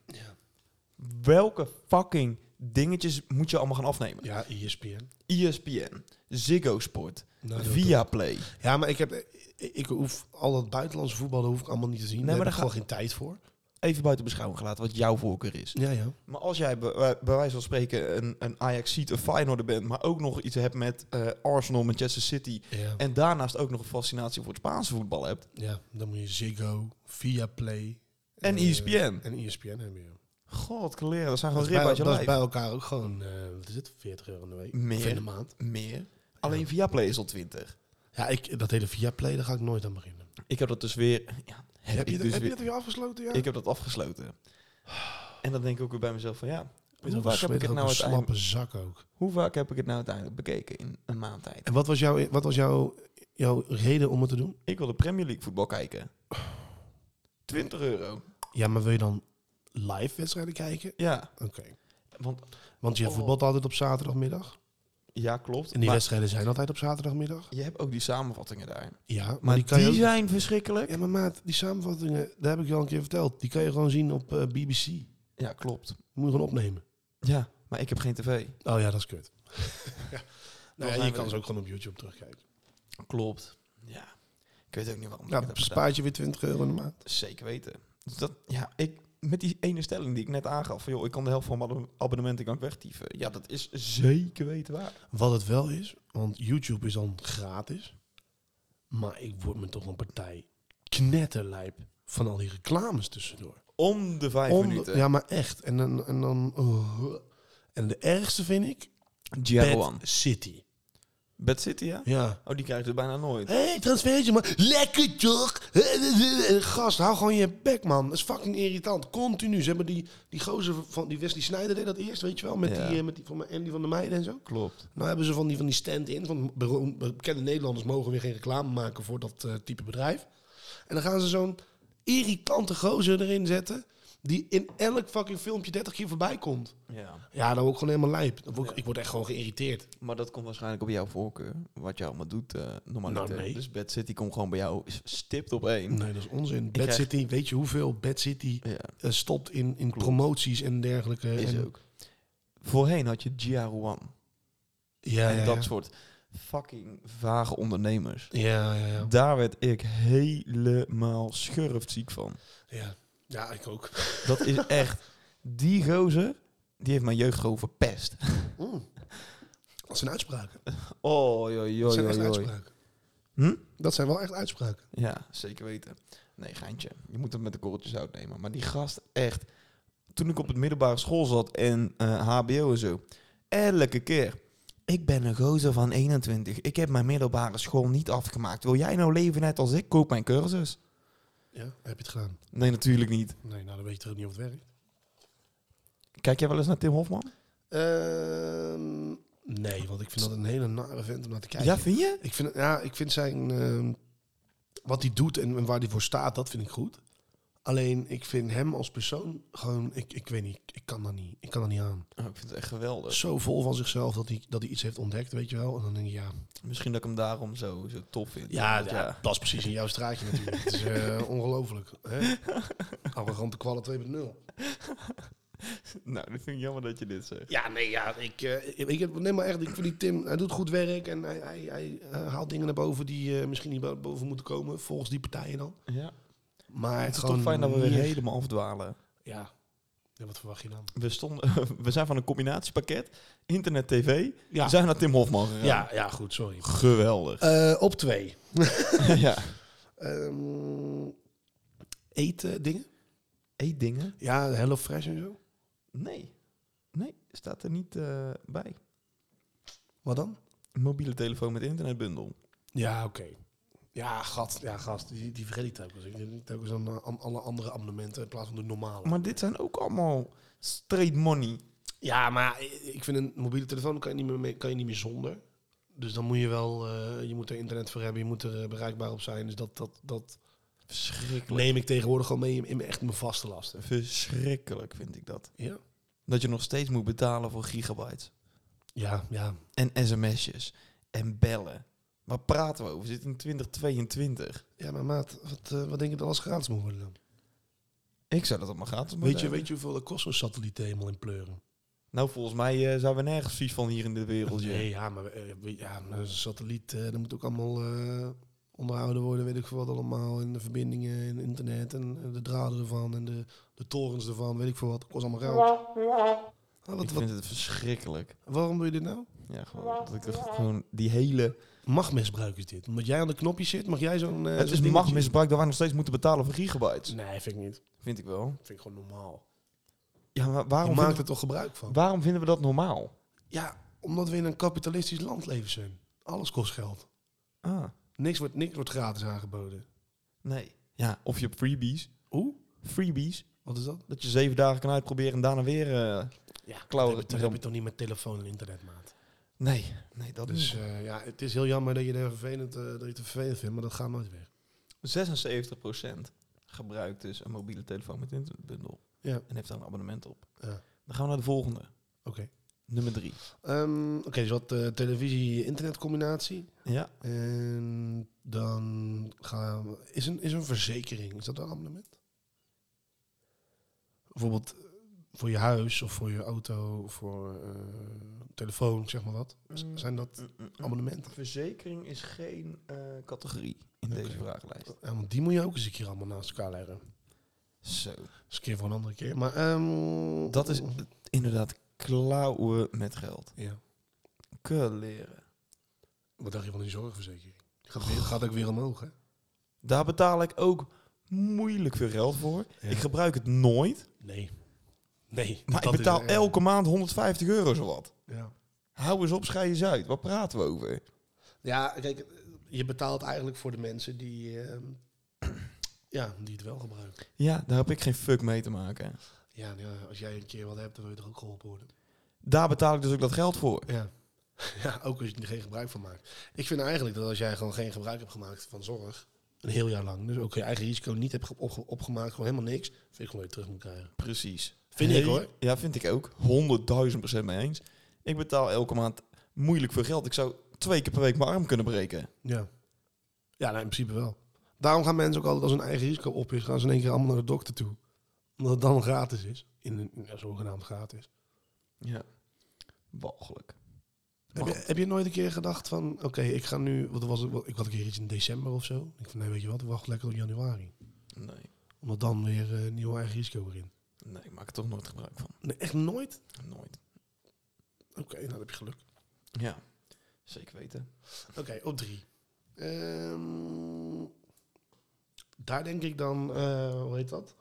B: welke fucking dingetjes moet je allemaal gaan afnemen? E
A: Ja, ESPN.
B: ESPN, Ziggo Sport,
A: Nou, dat-
B: Viaplay.
A: Ja, maar ik, heb, ik- ik hoef al dat buitenlandse voetbal dat hoef ik allemaal niet te zien.
B: Nee,
A: Daar
B: maar
A: heb ik
B: dan
A: gewoon geen tijd voor.
B: Even buiten beschouwing gelaten wat jouw voorkeur is.
A: Ja, ja.
B: Maar als jij bij, bij- bij wijze van spreken een, een ajax seat een Feyenoord bent, maar ook nog iets hebt met eh, Arsenal, Manchester City...
A: ja.
B: en daarnaast ook nog een fascinatie voor het Spaanse voetbal hebt...
A: Ja, dan moet je Ziggo, Viaplay.
B: En E
A: eh,
B: ESPN.
A: En ESPN hebben we.
B: God, kleren, dat zijn
A: Dat
B: gewoon
A: is
B: rib
A: bij,
B: uit je
A: dat is
B: lijf.
A: bij elkaar ook gewoon, eh, wat is het, 40 euro in de week?
B: Meer.
A: Of in de maand.
B: Meer. Alleen Viaplay is al 20.
A: Ja, ik, dat hele Viaplay, daar ga ik nooit aan beginnen.
B: Ik heb dat dus weer... Ja, heb,
A: Heb,
B: ik
A: je, dat-
B: dus
A: heb je
B: weer-
A: dat weer afgesloten? Ja.
B: Ik heb dat afgesloten. En dan denk ik ook weer bij mezelf van ja,
A: Wat
B: hoe
A: een
B: vaak, heb ik
A: smerig
B: het
A: ook,
B: nou
A: een
B: uiteindelijk,
A: slappe zak ook.
B: hoe vaak heb ik het nou uiteindelijk bekeken in een maand tijd?
A: En wat was, jouw, wat was jouw, jouw reden om het te doen?
B: Ik wil de Premier League voetbal kijken.
A: Oh.
B: 20 euro.
A: Ja, maar wil je dan live wedstrijden kijken?
B: Ja,
A: Oké.
B: want
A: Want je
B: Oh.
A: voetbalt altijd op zaterdagmiddag.
B: ja, klopt.
A: En die
B: maar
A: wedstrijden zijn altijd op zaterdagmiddag.
B: je hebt ook die samenvattingen daar. Maar,
A: Ja, maar, die kan je ook-
B: zijn verschrikkelijk.
A: Ja, maar maat, die samenvattingen, daar heb ik je al een keer verteld. Die kan je gewoon zien op eh, BBC.
B: Ja, klopt.
A: Moet je gewoon opnemen.
B: Ja, maar ik heb geen tv.
A: Oh ja, dat is kut. ja.
B: Dan
A: Nou ja,
B: zijn
A: je
B: we-
A: kan ze ook gewoon op YouTube terugkijken.
B: Klopt. Ja. Ik weet ook niet waarom. ik
A: Nou,
B: dat heb
A: spaart je weer 20 euro in de maand.
B: gedaan. Zeker weten. Dus dat, ja, ik, met die ene stelling die ik net aangaf, van joh, ik kan de helft van mijn abonne- abonnementen kan ik wegtieven. Ja, dat is zeker weten waar.
A: Wat het wel is, want YouTube is dan gratis. Maar ik word me toch een partij knetterlijp van al die reclames tussendoor.
B: Om de vijf
A: Om-
B: minuten.
A: ja, maar echt. En dan... En, dan oh. en de ergste vind ik...
B: Bad-
A: Bad City.
B: Bad City, ja?
A: Ja.
B: Oh, die krijgt het bijna nooit.
A: Hé, hey, transfertje, man. Lekker toch? Gast, hou gewoon je bek, man. Dat is fucking irritant. Continu. Ze hebben die, die gozer van die Wesley Snyder deed dat eerst, weet je wel? Met
B: Ja.
A: die, eh, met die van mijn Andy van der Meijden en zo.
B: Klopt.
A: Nou hebben ze van die, van die stand-in, van beroemd- bekende Nederlanders mogen weer geen reclame maken voor dat eh, type bedrijf. En dan gaan ze zo'n irritante gozer erin zetten, die in elk fucking filmpje 30 keer voorbij komt.
B: Ja.
A: Ja, dan word ik gewoon helemaal lijp. Dan word ik, ik word echt gewoon geïrriteerd.
B: Maar dat komt waarschijnlijk op jouw voorkeur. Wat je allemaal doet, eh normaal
A: Nou,
B: niet, eh.
A: nee.
B: Dus Bad City komt gewoon bij jou is stipt op één.
A: Nee, dat is onzin. Bad
B: krijg-
A: City, weet je hoeveel Bad City
B: Ja,
A: eh, stopt in, in promoties en dergelijke.
B: is
A: en,
B: ook. Voorheen had je Gia Ruan.
A: Ja,
B: en
A: ja,
B: dat
A: ja.
B: soort fucking vage ondernemers.
A: Ja, ja, ja.
B: Daar werd ik helemaal schurftziek van.
A: Ja, ja ik ook.
B: Dat is echt... Die gozer, die heeft mijn jeugd gewoon verpest.
A: Mm. Dat zijn uitspraken.
B: Oh, joi,
A: Dat
B: joi,
A: zijn echt
B: joi, joi.
A: uitspraken.
B: Hm?
A: Dat zijn wel echt uitspraken.
B: Ja, zeker weten. Nee, geintje. Je moet het met de korreltjes uitnemen. Maar die gast echt... Toen ik op het middelbare school zat en eh, hbo en zo... Elke keer. Ik ben een gozer van 21. Ik heb mijn middelbare school niet afgemaakt. Wil jij nou leven net als ik? Koop mijn cursus.
A: Ja, heb je het gedaan?
B: Nee, natuurlijk niet.
A: Nee, nou dan weet je toch ook niet of het werkt.
B: Kijk jij wel eens naar Tim Hofman?
A: Ehm, nee, want ik vind dat een hele nare vent om naar te kijken.
B: Ja, vind je?
A: Ik vind, ja, ik vind zijn... ehm, wat hij doet en, en waar hij voor staat, dat vind ik goed. Alleen, ik vind hem als persoon gewoon... Ik, ik weet niet, ik kan dat niet, ik kan dat niet aan.
B: Oh, ik vind het echt geweldig.
A: Zo vol van zichzelf dat hij, dat hij iets heeft ontdekt, weet je wel. En dan denk je, ja,
B: Misschien dat ik hem daarom zo, zo tof vind.
A: Ja,
B: Want
A: ja, dat is precies in jouw straatje natuurlijk. Het is eh, ongelooflijk. hè? Arrogante kwallen 2.0.
B: Nou, dat vind ik jammer dat je dit zegt.
A: Ja, nee, ja, ik, eh, ik, heb, nee, maar echt, ik vind die Tim, hij doet goed werk en hij, hij, hij eh, haalt dingen naar boven die eh, misschien niet bo- boven moeten komen, volgens die partijen dan.
B: Ja.
A: Maar
B: Het is
A: gewoon
B: toch fijn dat we weer
A: niet-
B: helemaal afdwalen.
A: Ja. Ja, wat verwacht je dan?
B: We, stonden, we zijn van een combinatiepakket, internet, tv,
A: Ja,
B: zijn naar Tim Hofman gegaan.
A: ja, ja goed, sorry.
B: Geweldig.
A: Eh, op twee.
B: ja.
A: Ehm eten dingen?
B: Eet dingen?
A: Ja, Hello Fresh en zo.
B: Nee. Nee, staat er niet eh, bij.
A: Wat dan?
B: Mobiele telefoon met internetbundel.
A: Ja, oké. Ja, gast, ja, gast. Die, die vergeet ik telkens. Ik denk telkens aan eh, am- alle andere abonnementen in plaats van de normale.
B: Maar dit zijn ook allemaal straight money.
A: ja, maar i- ik vind een mobiele telefoon kan je niet meer, mee- kan je niet meer zonder. Dus dan moet je wel, eh, je moet er internet voor hebben, je moet er eh, bereikbaar op zijn. Dus dat, dat, dat
B: Verschrikkelijk.
A: neem ik tegenwoordig gewoon mee in, in echt mijn vaste lasten.
B: Verschrikkelijk vind ik dat.
A: Ja.
B: Dat je nog steeds moet betalen voor gigabytes.
A: Ja, ja.
B: En sms'jes. En bellen. Waar praten we over? We zitten in 2022.
A: Ja, maar maat, wat, eh, wat denk je dat alles gratis moet worden dan?
B: Ik zou dat allemaal gratis moeten
A: Weet je,
B: hebben.
A: weet je hoeveel dat kost zo'n satelliet helemaal in pleuren?
B: Nou, volgens mij eh, zijn we nergens vies van hier in dit wereldje.
A: Nee, ja, maar eh, we- ja, maar een satelliet, eh dat moet ook allemaal eh, onderhouden worden, weet ik veel wat allemaal. En de verbindingen en internet en eh, de draden ervan en de, de torens ervan, weet ik veel wat. Dat kost allemaal geld. Ah,
B: Ik
A: wat, wat,
B: vind het verschrikkelijk.
A: waarom doe je dit nou?
B: Ja, gewoon, dat ik dat gewoon die hele...
A: Machtmisbruik is dit. Omdat jij aan de knopjes zit, mag jij zo'n... eh,
B: het
A: zo'n
B: is
A: dingetje-
B: machtmisbruik dat wij nog steeds moeten betalen voor gigabytes.
A: Nee, vind ik niet.
B: Vind ik wel.
A: Vind ik gewoon normaal.
B: Ja, maar
A: Je
B: waarom,
A: maakt
B: vinden,
A: er toch gebruik van?
B: waarom vinden we dat normaal?
A: Ja, omdat we in een kapitalistisch land leven zijn. Alles kost geld.
B: Ah,
A: Niks wordt, niks wordt gratis aangeboden.
B: nee. Ja, of je hebt freebies.
A: Hoe?
B: Freebies.
A: Wat is dat?
B: Dat je zeven dagen kan uitproberen en daarna weer... eh,
A: Ja,
B: Klauwen.
A: dat heb, je, dat heb je toch niet met telefoon en internet, maat.
B: Nee, nee, dat
A: Dus
B: is...
A: eh, ja, het is heel jammer dat je het vervelend, eh, dat je het vervelend vindt, maar dat gaat nooit weg.
B: 76% gebruikt dus een mobiele telefoon met internetbundel.
A: Ja.
B: En heeft daar een abonnement op.
A: Ja.
B: Dan gaan we naar de volgende.
A: Oké.
B: Nummer drie.
A: Ehm, Oké, dus wat eh, televisie-internet combinatie.
B: Ja.
A: En dan gaan we... Is een, is een verzekering, is dat een abonnement? Bijvoorbeeld eh, voor je huis of voor je auto of voor eh, telefoon, zeg maar wat. Z-
B: Mm.
A: Zijn dat abonnementen?
B: Verzekering is geen eh, categorie in
A: Oké.
B: deze vragenlijst.
A: Ja, want die moet je ook eens een keer allemaal naast elkaar leggen.
B: Zo.
A: Dat is een keer voor een andere keer. Maar ehm,
B: Dat is inderdaad klauwen met geld.
A: Ja.
B: Kunnen leren.
A: Wat dacht je van die zorgverzekering?
B: Oh.
A: Gaat, weer, gaat ook weer omhoog, hè?
B: Daar betaal ik ook moeilijk veel geld voor.
A: Ja.
B: Ik gebruik het nooit.
A: Nee. Nee.
B: Maar
A: dat
B: ik betaal
A: is- ja.
B: elke maand 150 euro zowat.
A: Ja.
B: Hou eens op, schei eens uit. Waar praten we over?
A: ja, kijk, je betaalt eigenlijk voor de mensen die, ehm, ja, die het wel gebruiken.
B: Ja, daar heb ik geen fuck mee te maken.
A: Ja, nou ja, als jij een keer wat hebt, dan wil je er ook geholpen worden.
B: Daar betaal ik dus ook dat geld voor.
A: Ja. ja, ook als je er geen gebruik van maakt. Ik vind eigenlijk dat als jij gewoon geen gebruik hebt gemaakt van zorg, een heel jaar lang, dus ook je eigen risico niet hebt ge- opge- opgemaakt, gewoon helemaal niks, vind ik gewoon dat je terug moet krijgen.
B: Precies.
A: Vind ik,
B: Hey,
A: hoor.
B: Ja, vind ik ook. 100.000 procent mee eens. Ik betaal elke maand moeilijk veel geld. Ik zou twee keer per week mijn arm kunnen breken.
A: Ja. Ja, nou, in principe wel. Daarom gaan mensen ook altijd als hun eigen risico op is, gaan ze in één keer allemaal naar de dokter toe. Omdat het dan gratis is. In een, ja, zogenaamd gratis.
B: Ja. Walgelijk.
A: Heb
B: Maar
A: je,
B: goed.
A: heb je nooit een keer gedacht van, oké, ik ga nu, wat was het, wat- ik had een keer iets in december of zo. Ik van, nee, weet je wat, ik wacht lekker tot januari.
B: Nee.
A: Omdat dan weer eh, een nieuw eigen risico erin.
B: Nee, ik maak er toch nooit gebruik van.
A: Nee, echt nooit?
B: Nooit.
A: Oké, nou dan heb je geluk.
B: Ja. Zeker weten.
A: Oké, op drie. Ehm, daar denk ik dan, eh, hoe heet dat?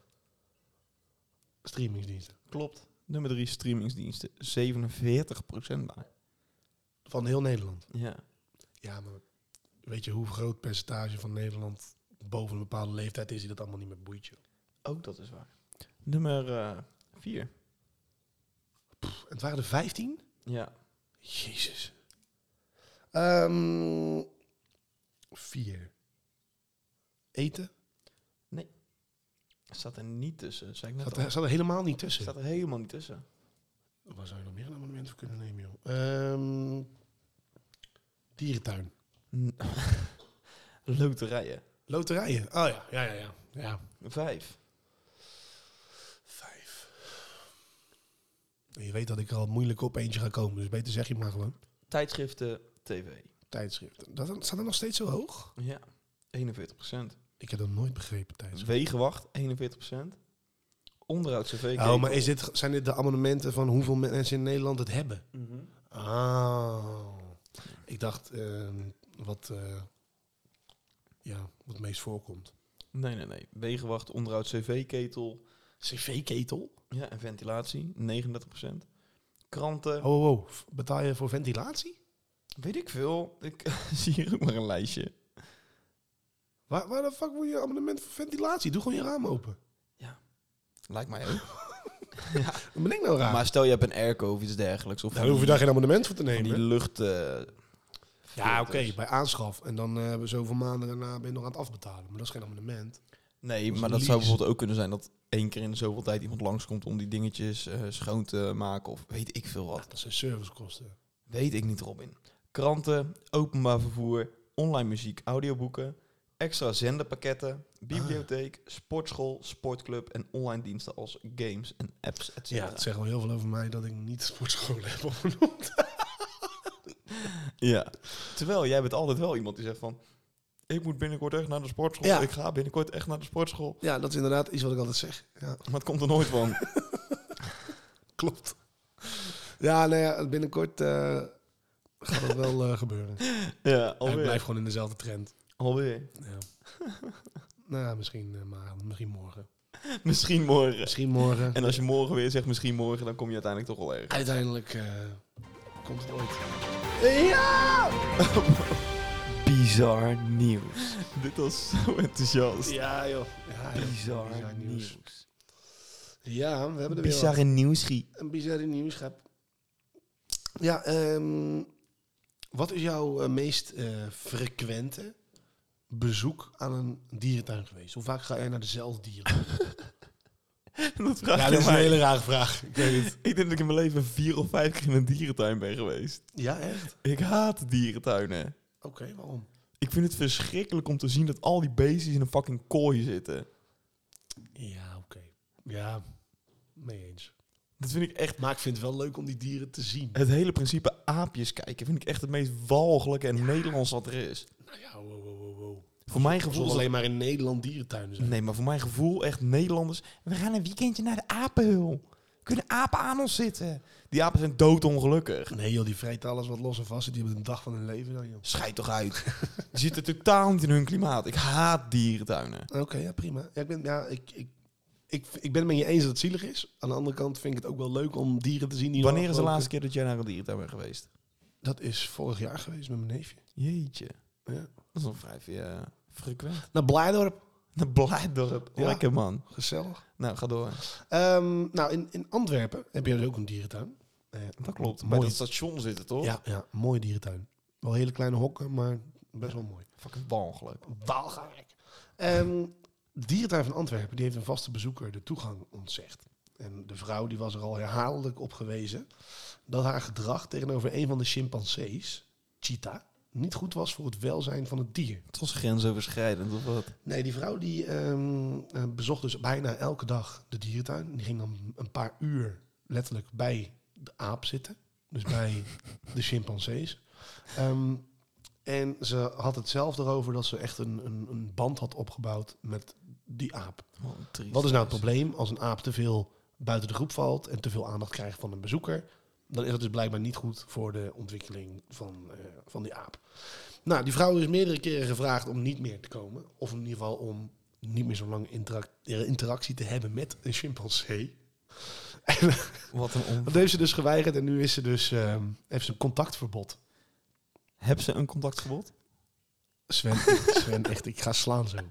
A: Streamingsdiensten.
B: Klopt. Nummer drie, streamingsdiensten. 47 procent bij.
A: Van heel Nederland.
B: Ja.
A: Ja, maar weet je hoe groot percentage van Nederland boven een bepaalde leeftijd is die dat allemaal niet meer boeit? joh?
B: Ook dat is waar. Nummer eh, vier.
A: Pff, het waren er 15?
B: Ja.
A: Jezus. Ehm vier. Eten?
B: Staat er niet tussen. Zei ik net
A: Zat
B: al.
A: er, zat er helemaal niet tussen.
B: Staat er helemaal niet tussen.
A: Waar zou je nog meer een abonnement voor kunnen nemen, joh? Ehm, dierentuin.
B: N- Loterijen.
A: Loterijen. Oh ja, ja, ja, ja. ja.
B: Vijf.
A: Vijf. Je weet dat ik er al moeilijk op eentje ga komen, dus beter zeg je maar gewoon.
B: Tijdschriften, tv.
A: Tijdschriften. Dat, staat er nog steeds zo hoog?
B: Ja. 41 procent.
A: Ik heb dat nooit begrepen tijdens.
B: Wegenwacht, 41 procent. Onderhoud, cv.
A: Oh, maar is dit, zijn dit de abonnementen van hoeveel mensen in Nederland het hebben?
B: Mhm.
A: Ah. Ik dacht, ehm, wat, eh, ja, wat het meest voorkomt.
B: Nee, nee, nee. Wegenwacht, onderhoud, cv-ketel.
A: CV-ketel?
B: Ja, en ventilatie, 39 procent. Kranten,
A: Oh, oh, oh. F- Betaal je voor ventilatie?
B: weet ik veel. Ik zie hier ook maar een lijstje.
A: Waar, waar de fuck moet je abonnement voor ventilatie? Doe gewoon je raam open.
B: Lijkt mij ook.
A: Wat ben ik nou raar?
B: Maar stel je hebt een airco of iets dergelijks. Of
A: Daar
B: van
A: Nou, hoef je
B: die-
A: daar geen abonnement voor te
B: van die
A: nemen.
B: lucht... eh,
A: Ja, oké,
B: filters.
A: bij aanschaf. En dan eh, zoveel maanden daarna ben je nog aan het afbetalen. Maar dat is geen abonnement.
B: Nee,
A: is
B: maar
A: een
B: dat zou
A: lease.
B: bijvoorbeeld ook kunnen zijn dat één keer in de zoveel tijd iemand langskomt om die dingetjes eh, schoon te maken of weet ik veel wat.
A: Dat zijn servicekosten.
B: Weet ik niet, Robin. Kranten, openbaar vervoer, online muziek, audioboeken, extra zenderpakketten,
A: Ah.
B: bibliotheek, sportschool, sportclub en online diensten als games en apps, etc.
A: Ja, het zegt wel heel veel over mij dat ik niet sportschool heb opgenoemd.
B: Ja. Terwijl jij bent altijd wel iemand die zegt van... Ik moet binnenkort echt naar de sportschool.
A: Ja.
B: Ik ga binnenkort echt naar de sportschool.
A: Ja, dat is inderdaad iets wat ik altijd zeg. Ja,
B: Maar het komt er nooit van.
A: klopt. Ja, nou ja, binnenkort eh, gaat dat wel eh, gebeuren.
B: ja,
A: En ik
B: alweer.
A: blijf gewoon in dezelfde trend.
B: Alweer.
A: Ja. nou, ja, misschien, eh, maar, misschien morgen.
B: Misschien morgen.
A: Misschien morgen.
B: En als je morgen weer zegt misschien morgen, dan kom je uiteindelijk toch wel erg.
A: Uiteindelijk eh, komt het ooit.
B: Ja! Bizar nieuws. Dit was zo enthousiast.
A: Ja, joh. Ja, joh. Bizar Ja, we hebben er weer
B: Bizarre nieuwsgie.
A: wat. een bizarre nieuwsgap. Ja, ehm, wat is jouw eh, meest eh, frequente bezoek aan een dierentuin geweest? Hoe vaak ga jij naar dezelfde dieren?
B: Dat vraag je mij.
A: rare vraag. Ik weet het.
B: Ik denk dat ik in mijn leven vier of vijf keer in een dierentuin ben geweest.
A: Ja, echt?
B: Ik haat dierentuinen.
A: Oké, waarom?
B: Ik vind het verschrikkelijk om te zien dat al die beestjes in een fucking kooi zitten.
A: Ja, oké. Ja, mee eens.
B: Dat vind ik echt...
A: Maar ik vind het wel leuk om die dieren te zien.
B: Het hele principe aapjes kijken vind ik echt het meest walgelijke en Nederlands wat er is.
A: Nou ja, wow, wow, wow, wow.
B: Voor mijn
A: Er
B: gevoel...
A: zullen
B: is
A: alleen maar in Nederland dierentuinen zijn.
B: Nee, maar voor mijn gevoel echt Nederlanders. We gaan een weekendje naar de apenhul. Kunnen apen aan ons zitten? Die apen zijn doodongelukkig.
A: Nee joh, die vreten alles wat los en vast zit. Die hebben een dag van hun leven dan joh.
B: Schijt toch uit. Die zitten totaal niet in hun klimaat. Ik haat dierentuinen.
A: Oké, ja prima. Ja, ik, ben, ja, ik, ik, ik, ik ben het met je eens dat het zielig is. Aan de andere kant vind ik het ook wel leuk om dieren te zien. Die
B: Wanneer is de
A: normaal
B: laatste keer dat jij naar een dierentuin bent geweest?
A: gesproken- Dat is vorig jaar geweest met mijn neefje.
B: Jeetje.
A: Ja.
B: Dat is nog vrij eh, frequent.
A: Naar Blijdorp.
B: Naar Blijdorp.
A: Ja.
B: Lekker man.
A: Gezellig.
B: Nou, ga door.
A: Ehm, nou, in, in Antwerpen heb je dus ook een dierentuin. Eh,
B: Dat klopt. Bij
A: Mooi.
B: dat station zitten, toch?
A: Ja, ja, mooie dierentuin. Wel hele kleine hokken, maar best wel mooi.
B: Fucking walgelijk.
A: Waalgaark. Ehm de dierentuin van Antwerpen die heeft een vaste bezoeker de toegang ontzegd. En de vrouw die was er al herhaaldelijk op gewezen dat haar gedrag tegenover een van de chimpansees, cheetah, niet goed was voor het welzijn van het dier.
B: Het was grensoverschrijdend, of wat?
A: Nee, die vrouw die ehm, eh, bezocht dus bijna elke dag de dierentuin. Die ging dan een paar uur letterlijk bij de aap zitten. Dus bij de chimpansees. Ehm, en ze had het zelf erover dat ze echt een, een, een band had opgebouwd met die aap.
B: Man, triest.
A: Wat is nou het probleem als een aap te veel buiten de groep valt en te veel aandacht krijgt van een bezoeker? Dan is dat dus blijkbaar niet goed voor de ontwikkeling van, eh, van die aap. Nou, die vrouw is meerdere keren gevraagd om niet meer te komen. Of in ieder geval om niet meer zo lang interac- eh, interactie te hebben met een chimpansee. En
B: Wat een on...
A: dat heeft ze dus geweigerd en nu is ze dus, eh, heeft ze een contactverbod.
B: Heb ze een contactverbod?
A: Sven, Sven, echt, ik ga slaan zo. Ik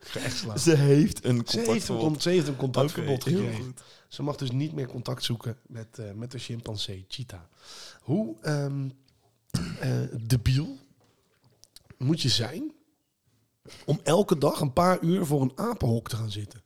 A: ga echt slaan.
B: Ze heeft een
A: Ze heeft een,
B: contactverbod.
A: con- ze heeft een contactverbod
B: Oké, heel
A: gekregen.
B: goed.
A: Ze mag dus niet meer contact zoeken met, eh, met de chimpansee cheetah. Hoe ehm eh, debiel moet je zijn om elke dag een paar uur voor een apenhok te gaan zitten?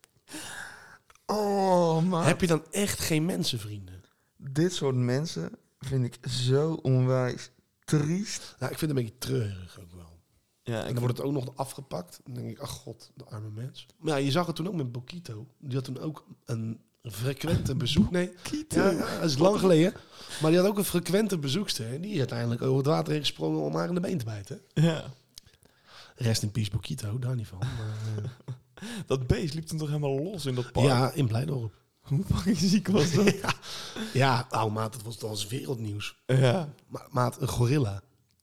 B: Oh, man.
A: Heb je dan echt geen mensenvrienden?
B: Dit soort mensen vind ik zo onwijs triest.
A: Nou, ik vind het een beetje treurig ook wel.
B: Ja,
A: En dan
B: ik word...
A: wordt het ook nog afgepakt. Dan denk ik, ach god, de arme mens. Maar ja, je zag het toen ook met Bokito. Die had toen ook een frequente bezoek. Nee, ja, ja, dat is lang geleden. Maar die had ook een frequente bezoekster. En die is uiteindelijk over het water heen gesprongen om haar in de been te bijten.
B: ja.
A: Rest in peace Bokito, daar niet van. Maar,
B: Dat beest liep toen toch helemaal los in dat
A: eh,
B: park?
A: ja, in Blijdorp.
B: Hoe fucking ziek was dat?
A: Ja, nou maat, dat was, dat was wereldnieuws.
B: ja.
A: Ma maat, een gorilla.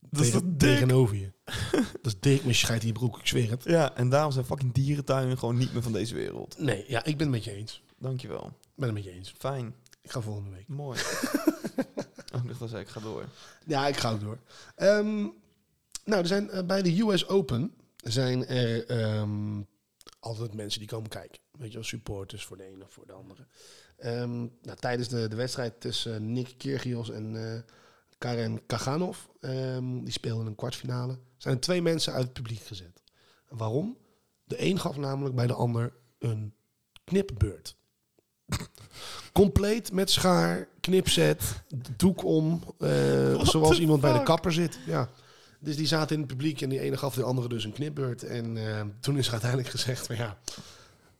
B: Dat is
A: tegen-
B: dat dik?
A: Tegenover je. dat is dik, maar je scheidt in je broek, ik zweer het.
B: Ja, en daarom zijn fucking dierentuinen gewoon niet meer van deze wereld.
A: Nee, ja, ik ben het met je eens.
B: Dankjewel.
A: Ik ben het met je eens.
B: Fijn.
A: Ik ga volgende week.
B: Mooi. oh, ik dacht dat zei ik, ga door.
A: Ja, ik ga ook door. Ehm, nou, er zijn eh, bij de US Open zijn er ehm, altijd mensen die komen kijken. Weet je wel, supporters voor de ene of voor de andere. Ehm, nou, tijdens de, de wedstrijd tussen Nick Kyrgios en eh, Karen Kaganov, ehm, die speelden een kwartfinale, zijn er twee mensen uit het publiek gezet. Waarom? De een gaf namelijk bij de ander een knipbeurt. Compleet met schaar, knipset, doek om. eh,
B: What
A: zoals
B: the
A: iemand bij de
B: fuck?
A: kapper zit. Ja. Dus die zaten in het publiek en die ene gaf de andere dus een knipbeurt. En eh, toen is er uiteindelijk gezegd van ja,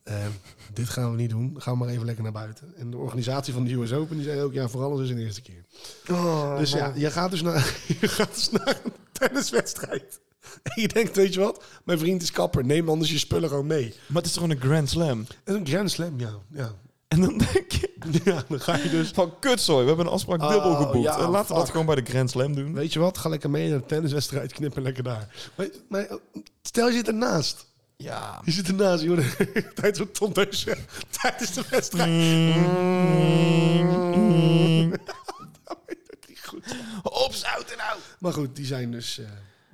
A: eh, dit gaan we niet doen. Gaan we maar even lekker naar buiten. En de organisatie van de US Open die zei ook ja, voor alles is een eerste keer.
B: Oh,
A: Dus ja, je gaat dus naar, je gaat dus naar een tenniswedstrijd. En je denkt, weet je wat? Mijn vriend is kapper. Neem anders je spullen gewoon mee.
B: Maar het is gewoon een Grand Slam.
A: En een Grand Slam, ja. Ja,
B: En dan denk je
A: ja dan ga je dus...
B: van kutzooi, we hebben een afspraak
A: Oh,
B: dubbel geboekt.
A: ja,
B: en laten we dat
A: fuck.
B: gewoon bij de Grand Slam doen.
A: Weet je wat? Ga lekker mee naar de tenniswedstrijd. Knippen lekker daar. Maar, maar stel je zit ernaast.
B: Ja.
A: Je zit ernaast, joh. Tijdens een tondeusje. Tijdens de wedstrijd.
B: Mm.
A: Dat is niet goed.
B: Opzouten nou!
A: Maar goed, die zijn dus eh,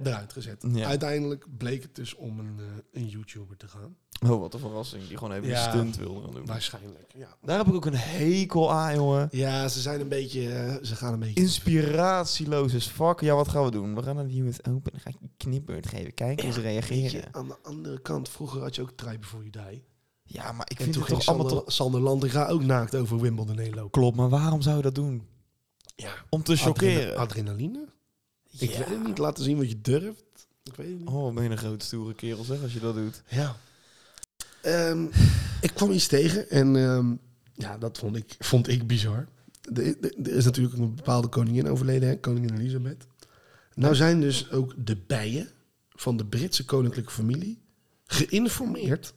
A: eruit gezet.
B: Ja.
A: Uiteindelijk bleek het dus om een, eh, een YouTuber te gaan.
B: Oh, wat een verrassing. Die gewoon even
A: Ja.
B: een stunt wilde gaan doen.
A: Waarschijnlijk, ja.
B: Daar heb ik ook een hekel aan, jongen.
A: Ja, ze zijn een beetje... eh, ze gaan een beetje...
B: Inspiratieloos is fuck. Ja, wat gaan we doen? We gaan naar de US Open. Dan ga ik een knipbeurt geven. Kijken hoe ze
A: Weet je,
B: reageren.
A: aan de andere kant, vroeger had je ook Try Before You Die.
B: Ja, maar ik
A: En
B: vind
A: toen
B: het
A: ging
B: toch allemaal
A: Sander,
B: toch...
A: Sander Landega ook naakt over Wimbledon heen lopen.
B: Klopt, maar waarom zou je dat doen?
A: Ja.
B: Om te
A: Adrena-
B: chockeren.
A: adrenaline? Ik
B: Ja.
A: weet het niet. Laten zien wat je durft. Ik weet het niet.
B: Oh, ben je een groot stoere kerel zeg, als je dat doet.
A: Ja. Ehm, ik kwam iets tegen en ehm, ja, dat vond ik, vond ik bizar. Er- Er er is natuurlijk een bepaalde koningin overleden, hè? koningin Elisabeth. Nou zijn dus ook de bijen van de Britse koninklijke familie geïnformeerd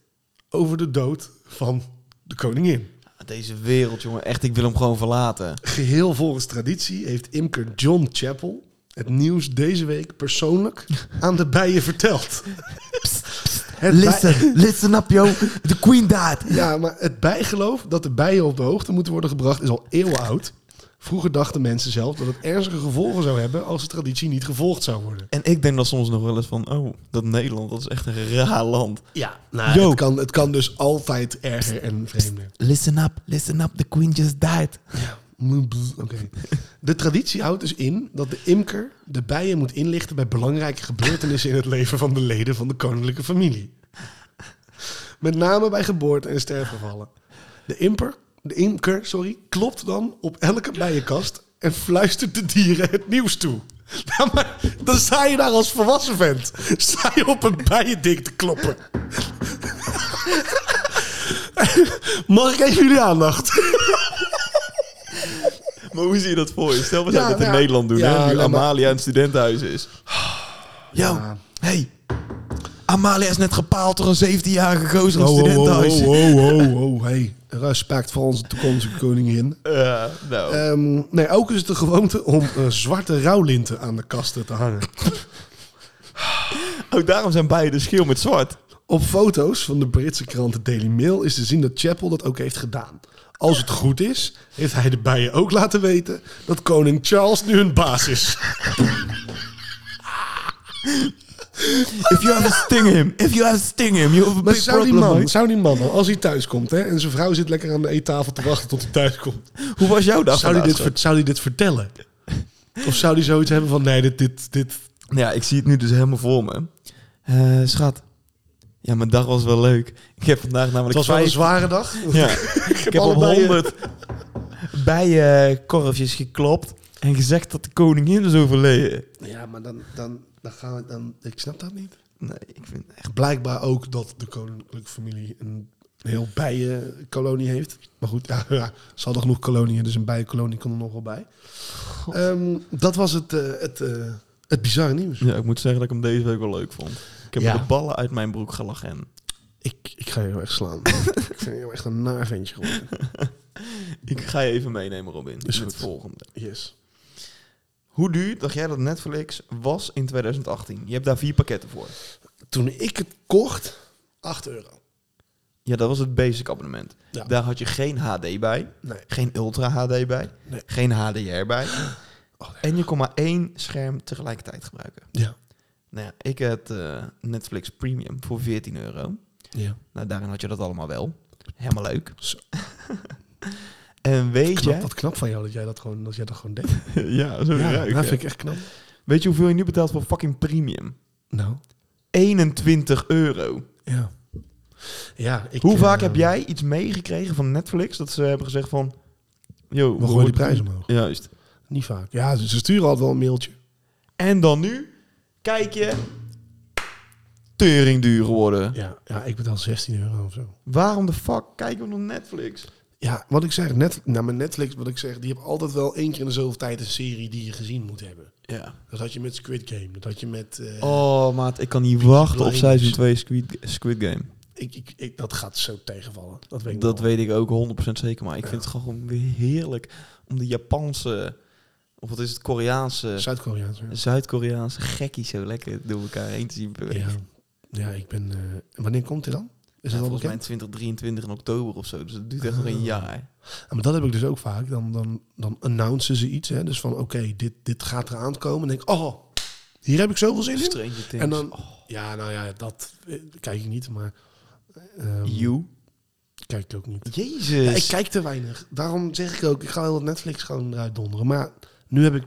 A: over de dood van de koningin.
B: Deze wereld, jongen. Echt, ik wil hem gewoon verlaten.
A: Geheel volgens traditie heeft imker John Chappell het nieuws deze week persoonlijk aan de bijen verteld. Het bij-
B: listen up, yo. De queen died.
A: Ja, maar het bijgeloof dat de bijen op de hoogte moeten worden gebracht is al eeuwen oud. Vroeger dachten mensen zelf dat het ernstige gevolgen zou hebben als de traditie niet gevolgd zou worden.
B: En ik denk dan soms nog wel eens van, oh, dat Nederland, dat is echt een raar land.
A: Ja,
B: Yo.
A: Nou, het kan, het kan dus altijd erger en vreemder.
B: Listen up, listen up, the queen just died.
A: Oké. De traditie houdt dus in dat de imker de bijen moet inlichten bij belangrijke gebeurtenissen in het leven van de leden van de koninklijke familie. Met name bij geboorte en sterfgevallen. De imker, de imker sorry, klopt dan op elke bijenkast en fluistert de dieren het nieuws toe. Nou, maar dan sta je daar als volwassen vent. Sta je op een bijendik te kloppen. Mag ik even jullie aandacht?
B: Maar hoe zie je dat voor je? Stel, we
A: Ja,
B: zouden dat in
A: nou ja.
B: Nederland doen,
A: Ja,
B: hè? Nu
A: nee, maar-
B: Amalia een studentenhuis is. Yo,
A: Ja.
B: hey. Amalia is net gepaald door een 17-jarige gozer in
A: Oh,
B: een
A: oh, oh,
B: studentenhuis.
A: oh, oh, oh, oh, hey. Respect voor onze toekomstige koningin.
B: Ja, nou.
A: Ehm, nee, ook is het de gewoonte om eh, zwarte rouwlinten aan de kasten te hangen.
B: Ook Oh, daarom zijn beide de schil met zwart.
A: Op foto's van de Britse krant The Daily Mail is te zien dat Chapel dat ook heeft gedaan. Als het goed is, heeft hij de bijen ook laten weten dat koning Charles nu een baas is.
B: If you have a sting him, if you have a sting him, you have a
A: Maar
B: big
A: zou die,
B: problem.
A: man,
B: mate.
A: zou die man, nou, als hij thuis komt hè, en zijn vrouw zit lekker aan de eettafel te wachten tot hij thuis komt,
B: Hoe was jouw dag
A: zou hij dit,
B: vandaag,
A: ver- zou die dit vertellen? Of zou hij zoiets hebben van: nee, dit, dit, dit,
B: Nou Ja, ik zie het nu dus helemaal voor me. Eh, schat. Ja, mijn dag was wel leuk. Ik heb vandaag namelijk
A: Het was wel een
B: vijf-
A: zware dag.
B: Ja. ik heb, al
A: allebei, eh,
B: honderd bijenkorfjes geklopt en gezegd dat de koningin is overleden.
A: Ja, maar dan, dan, dan gaan we dan. Ik snap dat niet.
B: Nee, ik vind echt...
A: Blijkbaar ook dat de koninklijke familie een heel bijenkolonie heeft. Maar goed, ja, ja, ze hadden genoeg koloniën, dus een bijenkolonie kon er nog wel bij. Ehm, dat was het, eh, het, eh, het bizarre nieuws.
B: Ja, ik moet zeggen dat ik hem deze week wel leuk vond. Ik heb
A: Ja.
B: me de ballen uit mijn broek gelachen.
A: Ik, ik ga je heel erg slaan. ik vind je echt een naar ventje geworden.
B: Ik ga je even meenemen, Robin.
A: Is
B: met
A: goed.
B: het volgende.
A: Yes.
B: Hoe duur dacht jij dat Netflix was in 2018? Je hebt daar vier pakketten voor.
A: Toen ik het kocht, 8 euro.
B: Ja, dat was het basic abonnement.
A: Ja.
B: Daar had je geen HD bij,
A: Nee.
B: geen Ultra HD bij,
A: Nee.
B: geen HDR bij.
A: Oh, nee.
B: En je kon maar één scherm tegelijkertijd gebruiken.
A: Ja.
B: Nou ja, ik had eh, Netflix Premium voor 14 euro.
A: ja.
B: Nou, daarin had je dat allemaal wel. Helemaal leuk.
A: Zo.
B: en weet
A: Knap,
B: je...
A: wat knap van jou dat jij dat gewoon, dat jij dat gewoon deed.
B: ja, zo
A: Ja,
B: ruik,
A: dat
B: hè.
A: vind ik echt knap.
B: Weet je hoeveel je nu betaalt voor fucking Premium?
A: Nou,
B: 21 euro.
A: ja. ja ik,
B: Hoe vaak
A: eh,
B: heb jij iets meegekregen van Netflix dat ze hebben gezegd van... Yo,
A: We gooien die prijs omhoog.
B: Juist.
A: Niet vaak. Ja, ze ze sturen altijd wel een mailtje.
B: En dan nu, kijk je, tering duur geworden.
A: Ja, ja ik betaal 16 euro of zo.
B: Waarom de fuck kijken we nog Netflix?
A: Ja, wat ik zeg, net, nou, mijn Netflix, wat ik zeg, die hebben altijd wel één keer in de zoveel tijd een serie die je gezien moet hebben.
B: Ja.
A: Dat had je met Squid Game, dat had je met... eh,
B: Oh, maat, ik kan niet
A: Peaky
B: wachten op
A: Blinders.
B: seizoen 2 Squid, Squid Game.
A: ik, ik, ik- dat gaat zo tegenvallen. Dat weet ik
B: Dat
A: wel.
B: weet ik ook 100% zeker. Maar ik
A: Ja.
B: vind het gewoon weer heerlijk om de Japanse, of wat is het, Koreaanse,
A: Zuid-Koreaans. ja.
B: Zuid-Koreaanse gekkies zo lekker door elkaar heen te zien bewegen.
A: Ja. ja, ik ben... eh, wanneer komt hij dan? Is
B: Ja,
A: dat al
B: volgens mij in
A: bekend?
B: 2023 in oktober of zo. Dus dat duurt echt nog
A: Ah.
B: een jaar.
A: Ja, maar dat heb ik dus ook vaak. Dan, dan, dan announcen ze iets. Hè? Dus van, oké, dit, dit gaat eraan komen. En denk ik, oh, hier heb ik zoveel zin in.
B: Stranger Things.
A: En dan-
B: Oh,
A: Ja, nou ja, dat eh, kijk ik niet, maar... ehm,
B: Oh, you.
A: kijk ik ook niet.
B: Jezus.
A: Ja, ik kijk te weinig. Daarom zeg ik ook, ik ga heel wat Netflix gewoon eruit donderen. Maar nu heb ik,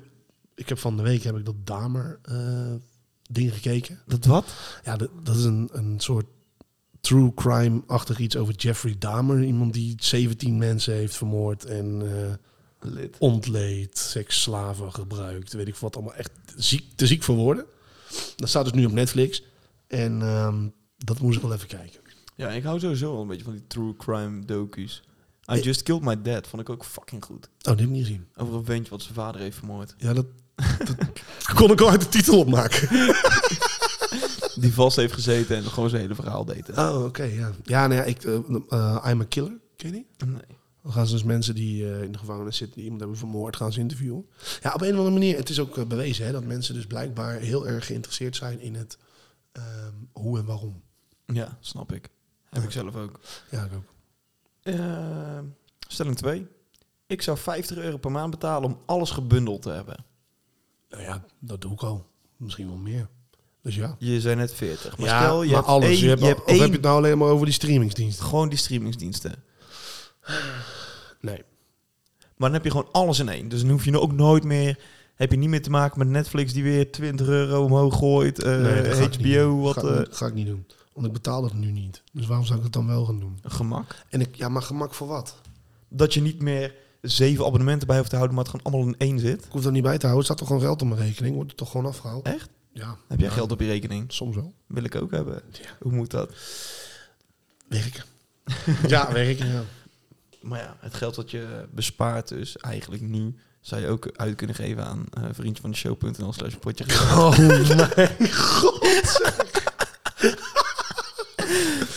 A: ik heb van de week heb ik dat Damer eh, ding gekeken.
B: Dat wat?
A: Ja, dat, dat is een, een soort true crime-achtig iets over Jeffrey Dahmer. Iemand die 17 mensen heeft vermoord en eh,
B: Lid.
A: ontleed, seksslaven gebruikt. Weet ik wat allemaal. Echt ziek, te ziek voor woorden. Dat staat dus nu op Netflix. En ehm, dat moest ik wel even kijken.
B: Ja, ik hou sowieso wel een beetje van die true crime docu's. I
A: Ik-
B: Just Killed My Dad vond ik ook fucking goed.
A: Oh, dit heb ik niet gezien.
B: Over een ventje wat zijn vader heeft vermoord.
A: Ja, dat, dat kon ik al uit de titel opmaken.
B: Die vast heeft gezeten en gewoon zijn hele verhaal deed. hè.
A: Oh, oké, ja. Ja, nou ja, ik, eh, eh, I'm a Killer, ken je die?
B: Nee.
A: Dan gaan ze dus mensen die eh, in de gevangenis zitten, die iemand hebben vermoord, gaan ze interviewen. Ja, op een of andere manier, het is ook eh, bewezen hè, dat mensen dus blijkbaar heel erg geïnteresseerd zijn in het ehm, hoe en waarom.
B: Ja, snap ik. Heb
A: Ja.
B: ik zelf ook.
A: Ja, ik ook.
B: Eh, stelling 2. Ik zou 50 euro per maand betalen om alles gebundeld te hebben.
A: Nou ja, dat doe ik al. Misschien wel meer. Dus ja.
B: Je zijn net 40. Maar
A: ja,
B: stel, je
A: maar
B: hebt
A: alles.
B: één-
A: je hebt, of
B: één-
A: heb je het nou alleen maar over die streamingsdiensten?
B: Gewoon die streamingsdiensten.
A: Nee.
B: Maar dan heb je gewoon alles in één. Dus dan hoef je ook nooit meer... Heb je niet meer te maken met Netflix die weer 20 euro omhoog gooit. eh,
A: Nee, dat ga ik niet
B: HBO,
A: doen.
B: wat...
A: Ga, ik
B: eh,
A: niet- ga ik niet doen. Want ik betaal dat nu niet. Dus waarom zou ik het dan wel gaan doen?
B: eh, gemak.
A: En ik, ja, maar gemak voor wat?
B: Dat je niet meer zeven abonnementen bij hoeft te houden, maar het gewoon allemaal in één zit.
A: Ik hoef dat niet bij te houden. Er staat toch gewoon geld op mijn rekening? Wordt het toch gewoon afgehaald?
B: Echt?
A: Ja.
B: Heb jij
A: Ja,
B: geld op je rekening?
A: Soms wel.
B: Wil ik ook hebben.
A: Ja.
B: Hoe moet dat?
A: Werken. ja, werken. Ja.
B: Maar ja, het geld dat je bespaart dus eigenlijk nu... zou je ook uit kunnen geven aan eh vriendje van de show.nl slash potje.
A: Oh mijn god.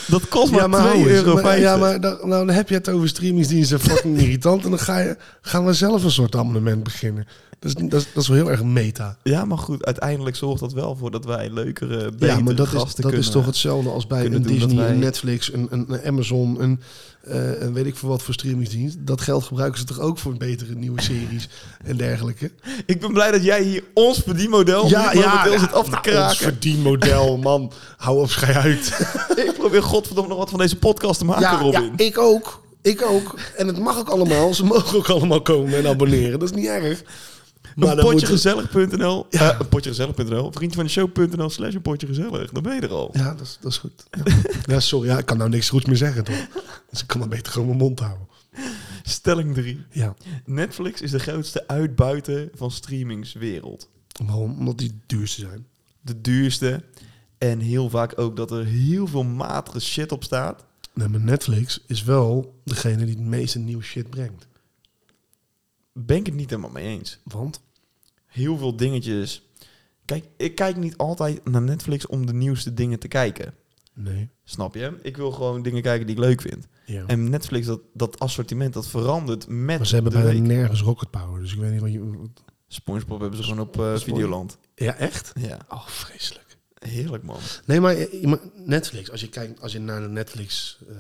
B: Dat kost maar,
A: Ja, maar hou
B: 2,50
A: eens.
B: euro.
A: Maar- Ja, maar dan, nou, dan heb je het over streamingsdiensten fucking irritant. En dan ga je, gaan we zelf een soort abonnement beginnen. Dat is, dat is, dat is wel heel erg meta.
B: Ja, maar goed, uiteindelijk zorgt dat wel voor dat wij leukere, betere
A: Ja, maar dat, is,
B: gasten
A: dat
B: kunnen.
A: is toch hetzelfde als bij
B: kunnen
A: een
B: doen dat
A: Disney, een
B: wij-
A: Netflix, een, een, een Amazon, een, eh, een weet ik voor wat voor streamingsdienst. Dat geld gebruiken ze toch ook voor betere nieuwe series en dergelijke.
B: Ik ben blij dat jij hier ons
A: Oh,
B: verdienmodel ja, momenteel zit af te
A: nou, ons
B: kraken.
A: verdienmodel, man. Hou op, schij uit.
B: Ik probeer godverdomme nog wat van deze podcast te maken, Robin.
A: ik ook. Ik ook. En het mag ook allemaal. Ze mogen ook allemaal komen en abonneren. Dat is niet erg.
B: een
A: dan
B: potje
A: moet-
B: gezellig.nl, eh, een potje gezellig.nl, vriendje van de show.nl slash een potje gezellig. Dan ben je er al.
A: Ja, dat is, dat is goed. Ja. Ja, sorry. Ja, ik kan nou niks goeds meer zeggen, toch? Dus ik kan dan beter gewoon mijn mond houden.
B: Stelling 3.
A: Ja.
B: Netflix is de grootste uitbuiter van streamingswereld.
A: Waarom? Omdat die het duurste zijn.
B: De duurste. En heel vaak ook dat er heel veel matige shit op staat.
A: Nee, maar Netflix is wel degene die het meeste nieuw shit brengt.
B: Ben ik het niet helemaal mee eens.
A: Want?
B: heel veel dingetjes. Kijk, ik kijk niet altijd naar Netflix om de nieuwste dingen te kijken.
A: Nee.
B: Snap je? Ik wil gewoon dingen kijken die ik leuk vind.
A: Ja.
B: En Netflix, dat, dat assortiment, dat verandert met
A: Maar ze hebben
B: de
A: bijna
B: week.
A: nergens rocket power. Dus ik weet niet wat je...
B: Spongebob hebben ze gewoon op eh, Videoland.
A: Ja, echt?
B: Ja,
A: Oh, vreselijk.
B: heerlijk man.
A: Nee, maar eh, maar Netflix, als je, kijkt, als je naar de Netflix-ding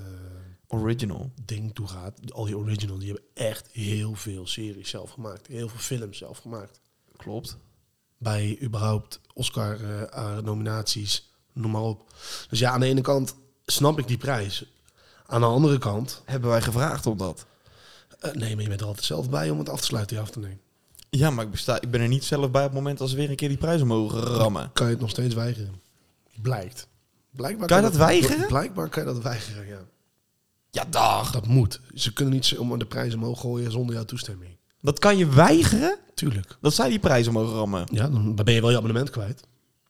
B: Original.
A: toe gaat, al die original, die hebben echt heel veel series zelf gemaakt. Heel veel films zelf gemaakt.
B: Klopt.
A: Bij überhaupt Oscar-nominaties, noem maar op. Dus ja, aan de ene kant snap ik die prijs. Aan de andere kant,
B: Hebben wij gevraagd om dat?
A: eh, nee, maar je bent er altijd zelf bij om het af te sluiten, je af te nemen.
B: Ja, maar ik, besta ik ben er niet zelf bij op het moment als ze weer een keer die prijs omhoog rammen.
A: Kan je het nog steeds weigeren? Blijkt. Blijkbaar
B: Kan je dat weigeren?
A: Blijkbaar kan je dat weigeren, ja.
B: Ja, dag.
A: Dat moet. Ze kunnen niet zo- om de prijs omhoog gooien zonder jouw toestemming.
B: Dat kan je weigeren?
A: Tuurlijk.
B: Dat zij die prijs omhoog rammen.
A: Ja, dan dan ben je wel je abonnement kwijt.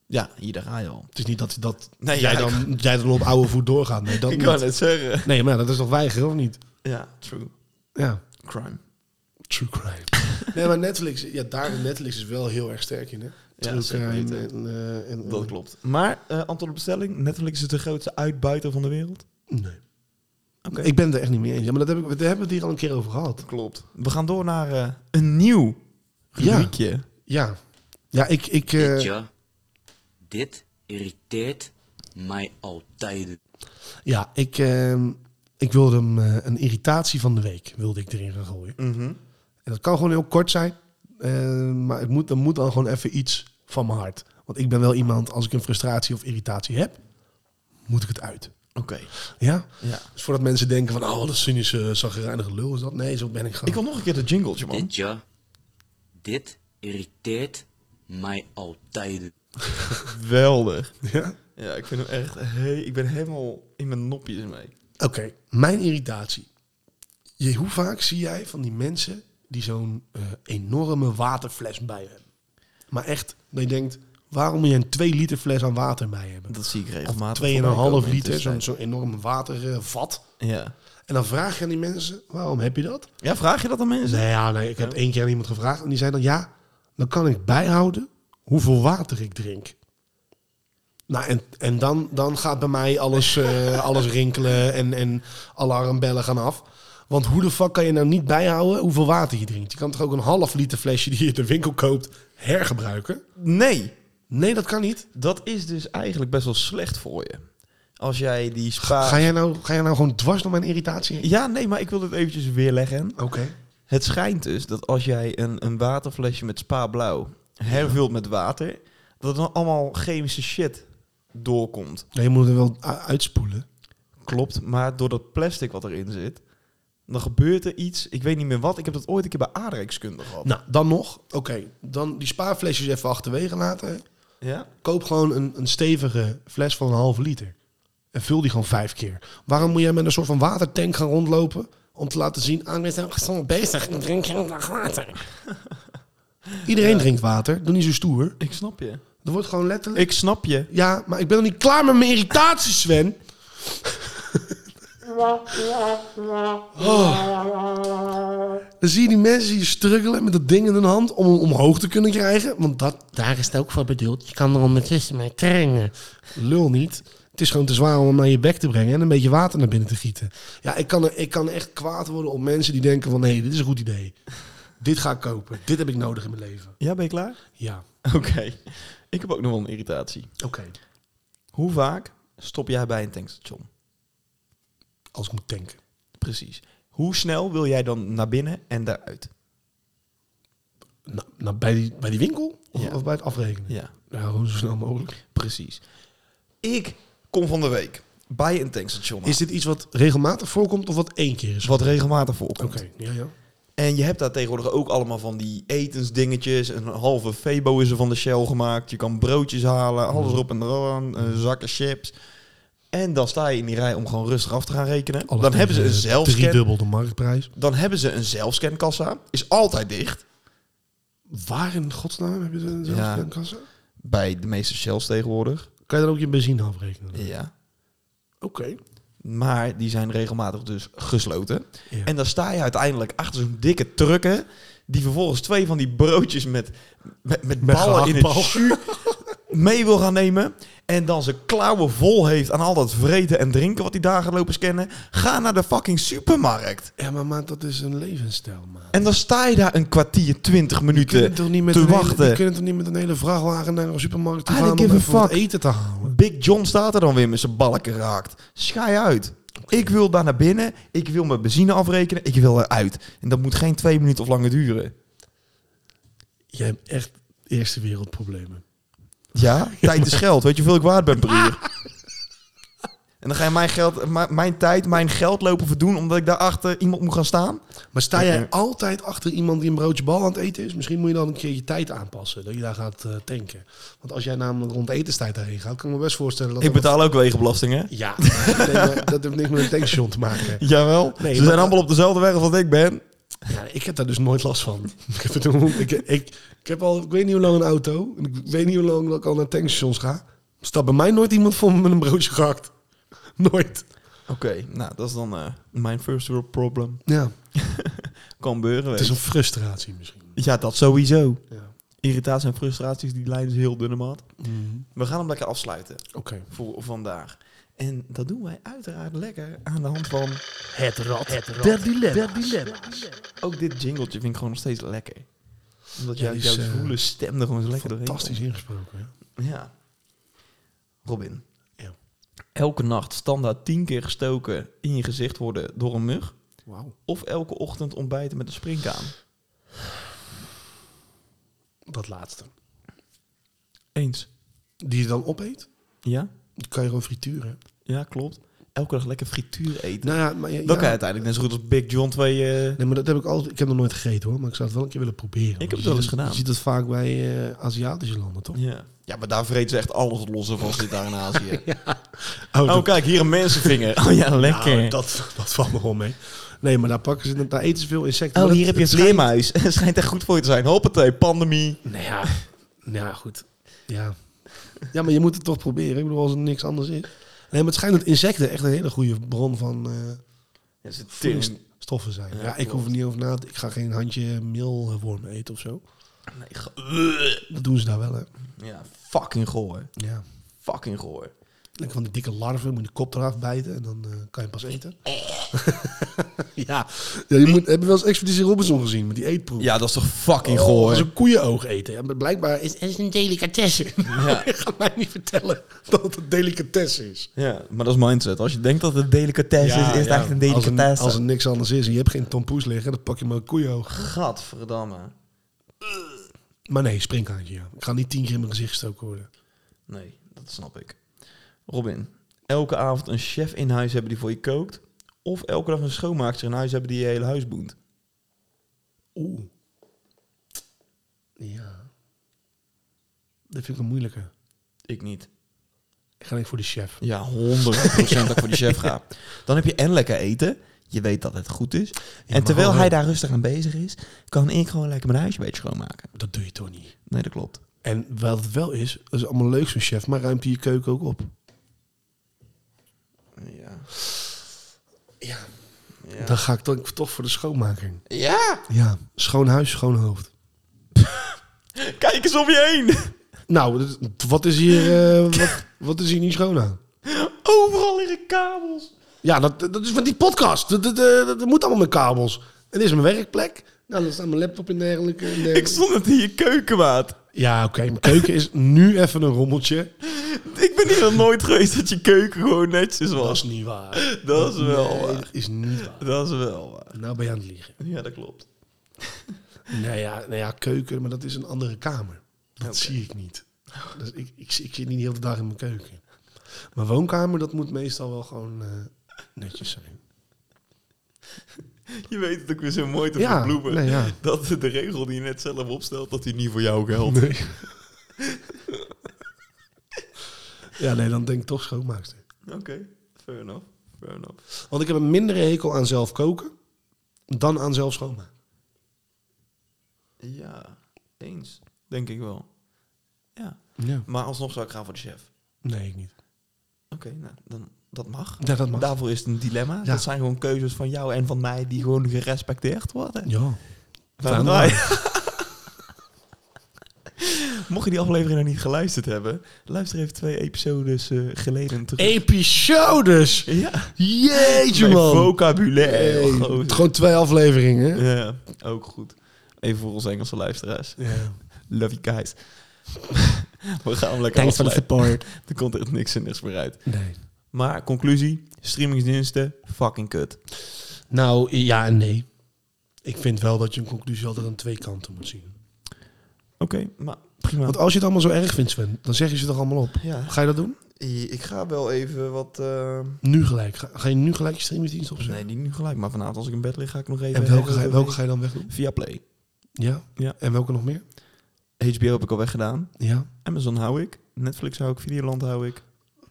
B: Ja, hier daar ga je al.
A: Het is niet dat, dat
B: Nee,
A: jij,
B: ja, ik-
A: dan, jij dan op oude voet doorgaat. Nee, dat
B: ik
A: niet.
B: kan het zeggen.
A: Nee, maar ja, dat is toch weigeren, of niet?
B: Ja, true.
A: Ja.
B: Crime.
A: True crime. nee, maar Netflix, ja, daar Netflix is wel heel erg sterk in, hè? True
B: zeker
A: crime
B: weten.
A: en, eh, en-
B: Dat
A: en-
B: klopt. Maar, eh antwoord op bestelling, Netflix is de grootste uitbuiter van de wereld.
A: Nee. Ik ben het er echt niet mee eens. Ja, maar dat heb ik, daar hebben we het hier al een keer over gehad.
B: Klopt. We gaan door naar eh, een nieuw
A: Ja.
B: rubriekje.
A: Ja. Ja, ik... ik eh,
C: Weet je, dit irriteert mij altijd.
A: Ja, ik, ehm, ik wilde hem eh, een irritatie van de week wilde ik erin gaan gooien.
B: Mhm.
A: En dat kan gewoon heel kort zijn, eh, maar het moet, er moet dan gewoon even iets van mijn hart. Want ik ben wel iemand, als ik een frustratie of irritatie heb, moet ik het uit.
B: Oké.
A: Ja?
B: Ja.
A: Dus voordat mensen denken van, oh, dat is cynische, zagrijnige lul is dat. Nee, zo ben ik gewoon.
B: Ik wil nog een keer dat jingletje, man.
C: Weet je, dit irriteert mij altijd.
B: Geweldig.
A: Ja?
B: Ja, ik vind hem echt... Hey, ik ben helemaal in mijn nopjes mee.
A: Oké, mijn irritatie. Je, hoe vaak zie jij van die mensen die zo'n eh, enorme waterfles bij hebben? Maar echt, dat je denkt, waarom moet je een 2 liter fles aan water bij hebben?
B: Dat zie ik regelmatig. voorbij komen
A: 2,5
B: in
A: liter, zo'n
B: tussentijd.
A: zo'n enorm watervat.
B: Ja.
A: En dan vraag je aan die mensen, waarom heb je dat?
B: ja, vraag je dat aan mensen?
A: Nee, ja, nee, ik heb één keer aan iemand gevraagd en die zei dan, ja, dan kan ik bijhouden hoeveel water ik drink. Nou, en, en dan, dan gaat bij mij alles, eh, alles rinkelen en, en alarmbellen gaan af. Want hoe de fuck kan je nou niet bijhouden hoeveel water je drinkt? Je kan toch ook een half liter flesje die je in de winkel koopt hergebruiken?
B: nee.
A: Nee, dat kan niet.
B: Dat is dus eigenlijk best wel slecht voor je. Als jij die spa...
A: Ga jij nou, ga jij nou gewoon dwars door mijn irritatie heen?
B: Ja, nee, maar ik wil het eventjes weerleggen.
A: Oké.
B: Het schijnt dus dat als jij een, een waterflesje met spa blauw hervult met water, dat er dan allemaal chemische shit doorkomt.
A: Nee, je moet er wel u- uitspoelen.
B: Klopt, maar door dat plastic wat erin zit, dan gebeurt er iets. Ik weet niet meer wat. Ik heb dat ooit een keer bij aardrijkskunde gehad.
A: Nou, dan nog. Oké, dan die spaarflesjes even achterwege laten.
B: Ja?
A: Koop gewoon een, een stevige fles van een halve liter. En vul die gewoon vijf keer. Waarom moet jij met een soort van watertank gaan rondlopen? Om te laten zien, ah, we zijn gezond bezig. Ik drink heel graag water. Iedereen drinkt water. Doe niet zo stoer.
B: Ik snap je.
A: Er wordt gewoon letterlijk...
B: Ik snap je.
A: Ja, maar ik ben nog niet klaar met mijn irritatie, Sven. Oh. Dan zie je die mensen die struggelen met dat ding in hun hand om hem omhoog te kunnen krijgen. Want dat
D: Daar is het ook voor bedoeld. Je kan er ondertussen mee trainen.
A: lul niet. Het is gewoon te zwaar om hem naar je bek te brengen en een beetje water naar binnen te gieten. Ja, ik kan, er- ik kan echt kwaad worden op mensen die denken van... hé, dit is een goed idee. Dit ga ik kopen. Dit heb ik nodig in mijn leven.
B: Ja, ben je klaar?
A: Ja,
B: Oké. Ik heb ook nog wel een irritatie.
A: oké.
B: Hoe vaak stop jij bij een tankstation?
A: Als ik moet tanken.
B: Precies. Hoe snel wil jij dan naar binnen en daaruit?
A: Nou, nou, bij, die, bij die winkel? Of,
B: Ja.
A: of bij het afrekenen?
B: Ja.
A: Nou, gewoon zo snel mogelijk.
B: Precies. Ik kom van de week bij een tankstation. aan.
A: Is dit iets wat regelmatig voorkomt of wat één keer is?
B: wat regelmatig voorkomt.
A: Dus Oké, ja, ja.
B: En je hebt daar tegenwoordig ook allemaal van die etensdingetjes. Een halve febo is er van de Shell gemaakt. Je kan broodjes halen, alles
A: Mhm.
B: erop en eraan. eh, zakken chips. En dan sta je in die rij om gewoon rustig af te gaan rekenen.
A: Alles
B: dan hebben ze
A: tegen
B: een
A: Drie
B: zelfscan.
A: dubbel de marktprijs.
B: Dan hebben ze een zelfscankassa. Is altijd dicht.
A: Waar in godsnaam heb je een
B: Ja.
A: zelfscankassa?
B: Bij de meeste Shells tegenwoordig.
A: Kan je dan ook je benzine afrekenen?
B: Ja.
A: Oké.
B: Maar die zijn regelmatig dus gesloten.
A: Ja.
B: En dan sta je uiteindelijk achter zo'n dikke trucker... die vervolgens twee van die broodjes met, met, met, ballen in het
A: gehaktbal.
B: jus mee wil gaan nemen... en dan zijn klauwen vol heeft aan al dat vreten en drinken... wat die daar gaat lopen scannen. Ga naar de fucking supermarkt.
A: Ja, maar maat, dat is een levensstijl, maat.
B: En dan sta je daar een kwartier, twintig
A: kunnen
B: minuten
A: toch niet met
B: te
A: een hele-
B: wachten.
A: die kunnen toch niet met een hele vrachtwagen naar een supermarkt te
B: I
A: gaan om
B: don't give a
A: even wat
B: fuck.
A: eten te halen?
B: Big John staat er dan weer met zijn balken raakt. Schij uit. Ik wil daar naar binnen. Ik wil mijn benzine afrekenen. Ik wil eruit. En dat moet geen twee minuten of langer duren.
A: Jij hebt echt eerste wereldproblemen.
B: Ja, tijd is geld. Weet je hoeveel ik waard ben per uur? En dan ga je mijn, geld, mijn, mijn tijd, mijn geld lopen verdoen omdat ik daarachter iemand moet gaan staan.
A: Maar sta jij altijd achter iemand die een broodje bal aan het eten is? Misschien moet je dan een keer je tijd aanpassen. Dat je daar gaat eh, tanken. Want als jij namelijk rond etenstijd daarheen gaat, kan ik me best voorstellen dat...
B: Ik
A: dat-
B: betaal ook wegenbelasting, hè?
A: Ja, Nee, maar dat heeft niks met een tankstation te maken.
B: Jawel.
A: Nee,
B: Ze
A: maar-
B: zijn allemaal op dezelfde weg als wat ik ben.
A: Ja, ik heb daar dus nooit last van. ik, heb het, ik, ik, ik heb al, ik weet niet hoe lang een auto. En ik weet niet hoe lang dat ik al naar tankstations ga. Staat bij mij nooit iemand voor me met een broodje gehakt. Nooit.
B: Oké, nou, dat is dan eh, mijn first world problem.
A: Ja,
B: Kan gebeuren,
A: het
B: weet
A: is een
B: je.
A: frustratie misschien.
B: Ja, dat sowieso.
A: Ja.
B: Irritaties en frustraties, die lijn is heel dunne maat. We gaan hem lekker afsluiten
A: Oké.
B: voor vandaag. En dat doen wij uiteraard lekker aan de hand van...
D: Het rad. Het rad. Der dilemma.
B: Ook dit jingletje vind ik gewoon nog steeds lekker. Omdat
A: Ja,
B: jou-
A: die is,
B: jouw
A: eh,
B: voele stem er gewoon zo lekker doorheen
A: Fantastisch ingesproken. Ja.
B: komt. Ja. Robin.
A: Ja.
B: Elke nacht standaard tien keer gestoken in je gezicht worden door een mug.
A: Wauw.
B: Of elke ochtend ontbijten met een springkaan.
A: Dat laatste.
B: Eens.
A: Die je dan opeet,
B: Ja?
A: die kan je gewoon frituren.
B: Ja, klopt. Elke dag lekker frituur eten.
A: Nou ja, maar ja,
B: Dan
A: ja.
B: kan je uiteindelijk net zo goed als Big John 2... eh,
A: Nee, maar dat heb ik altijd. Ik heb nog nooit gegeten hoor, maar ik zou het wel een keer willen proberen.
B: heb
A: Want
B: het
A: je
B: wel eens
A: ziet-
B: gedaan.
A: Je ziet dat vaak bij eh, Aziatische landen, toch?
B: ja. ja, maar daar vreet ze echt alles los van zit daar in Azië.
A: Oh,
B: Oh, kijk, hier een mensenvinger. Oh ja, lekker.
A: Nou, dat, dat valt me wel mee. Nee, maar daar pakken ze, daar eten ze veel insecten.
B: Oh,
A: Maar
B: hier
A: dat-
B: heb je een
A: het schijnt-
B: vleermuis. Het schijnt echt goed voor je te zijn. Hoppatee, pandemie.
A: Nou ja, nou ja, goed. Ja. ja, maar je moet het toch proberen. Ik bedoel, als er niks anders is. Nee, maar het schijnt dat insecten echt een hele goede bron van eh,
B: Dat is het
A: voedingsstoffen zijn. Ja, ik hoef er niet over na te- Ik ga geen handje meelworm eten of zo.
B: Nee, ge-
A: Dat doen ze daar wel, hè.
B: ja, fucking goor.
A: Ja.
B: Fucking goor.
A: Lekker van die dikke larven, moet je de kop eraf bijten en dan eh, kan je pas eten. ja. ja, je moet, heb je wel eens Expeditie Robinson gezien met die eetproef?
B: Ja, dat is toch fucking
A: Oh, dat
B: goor.
A: is een koeienoog eten. Ja, maar blijkbaar is
D: Het is een delicatesse.
B: Ja.
A: Je gaat mij niet vertellen dat het een delicatesse is.
B: ja, maar dat is mindset. Als je denkt dat het een delicatesse is, is het eigenlijk een
A: Als er,
B: delicatesse.
A: als er niks anders is en je hebt geen tompoes liggen, dan pak je maar een koeienoog.
B: Oh, Gadverdamme.
A: Maar nee, springkaantje, ja. Ik ga niet tien keer in mijn gezicht gestoken worden.
B: Nee, dat snap ik. Robin, elke avond een chef in huis hebben die voor je kookt. Of elke dag een schoonmaakster in huis hebben die je hele huis boent.
A: Oeh. Ja. Dat vind ik een moeilijke.
B: Ik niet.
A: Ik ga niet voor de chef.
B: Ja, 100% dat ik voor die chef ga. Dan heb je en lekker eten. Je weet dat het goed is.
A: maar
B: en terwijl
A: hallo.
B: hij daar rustig aan bezig is, kan ik gewoon lekker mijn huisje een beetje schoonmaken.
A: Dat doe je toch niet.
B: Nee, dat klopt.
A: En wat het wel is, dat is allemaal leuk zo'n chef, maar ruimt hij je keuken ook op?
B: Ja.
A: Dan ga ik dan toch voor de schoonmaking.
B: ja!
A: Ja, schoon huis, schoon hoofd.
B: Kijk eens om je heen!
A: Nou, dat- wat is hier, eh, wat, wat is hier niet schoon aan?
B: Overal liggen kabels.
A: Ja, dat, dat is van die podcast. Dat, dat, eh, dat moet allemaal met kabels. Het is mijn werkplek. Nou, dan staat mijn laptop in dergelijke. en dergelijke.
B: Ik stond het in je keukenmaat.
A: Ja, oké. mijn keuken is nu even een rommeltje.
B: Ik ben hier nog nooit geweest dat je keuken gewoon netjes
A: Dat is
B: was.
A: niet waar.
B: Dat is wel
A: Nee,
B: waar.
A: dat is niet waar.
B: Dat is wel waar.
A: Nou ben je aan het liegen.
B: Ja, dat klopt.
A: Nou ja, nou ja keuken, maar dat is een andere kamer. Dat zie ik niet. Dus ik, ik, zie- ik zit niet de hele dag in mijn keuken. Mijn woonkamer, dat moet meestal wel gewoon eh, netjes zijn.
B: Je weet het ook weer zo mooi te
A: Ja,
B: verbloemen.
A: nee, ja.
B: Dat de regel die je net zelf opstelt, dat die niet voor jou geldt.
A: Nee. ja, nee, dan denk ik toch schoonmaakster.
B: Oké, fair enough. Fair enough.
A: Want ik heb een mindere hekel aan zelf koken dan aan zelf schoonmaken.
B: Ja, eens. Denk ik wel. Ja.
A: Ja.
B: Maar alsnog zou ik gaan voor de chef.
A: Nee, ik niet.
B: Oké, nou, dan, dat mag.
A: Ja, dat mag.
B: Daarvoor is het een dilemma. Dat zijn gewoon keuzes van jou en van mij die gewoon gerespecteerd worden.
A: Ja.
B: Waarom
A: Fijn.
B: wij? Mocht je die aflevering nog niet geluisterd hebben, luister even twee episodes eh, geleden terug.
A: Episodes!
B: ja,
A: Jeetje,
B: mijn
A: man!
B: vocabulaire.
A: Hey,
B: gozer.
A: gewoon twee afleveringen. hè?
B: Ja, ook goed. Even voor onze Engelse luisteraars.
A: Ja.
B: Love you guys. We gaan hem lekker
D: Thanks for the
B: afsluiten.
D: support.
B: Er komt echt niks en niks meer uit.
A: Nee.
B: Maar conclusie, streamingsdiensten, fucking kut.
A: Nou, ja en nee. Ik vind wel dat je een conclusie altijd aan twee kanten moet zien.
B: Oké, maar prima.
A: Want als je het allemaal zo erg vindt, Sven, dan zeg je ze toch allemaal op.
B: Ja.
A: Ga je dat doen?
B: I- Ik ga wel even wat... eh,
A: Nu gelijk. Ga, ga je nu gelijk je streamingsdienst opzetten?
B: Nee, niet nu gelijk. Maar vanavond als ik in bed lig, ga ik nog even...
A: en welke ga,
B: even-
A: welke ga je dan wegdoen?
B: Via Play.
A: Ja?
B: Ja.
A: En welke nog meer?
B: HBO heb ik al weggedaan.
A: Ja.
B: Amazon hou ik. Netflix hou ik. Videoland hou ik.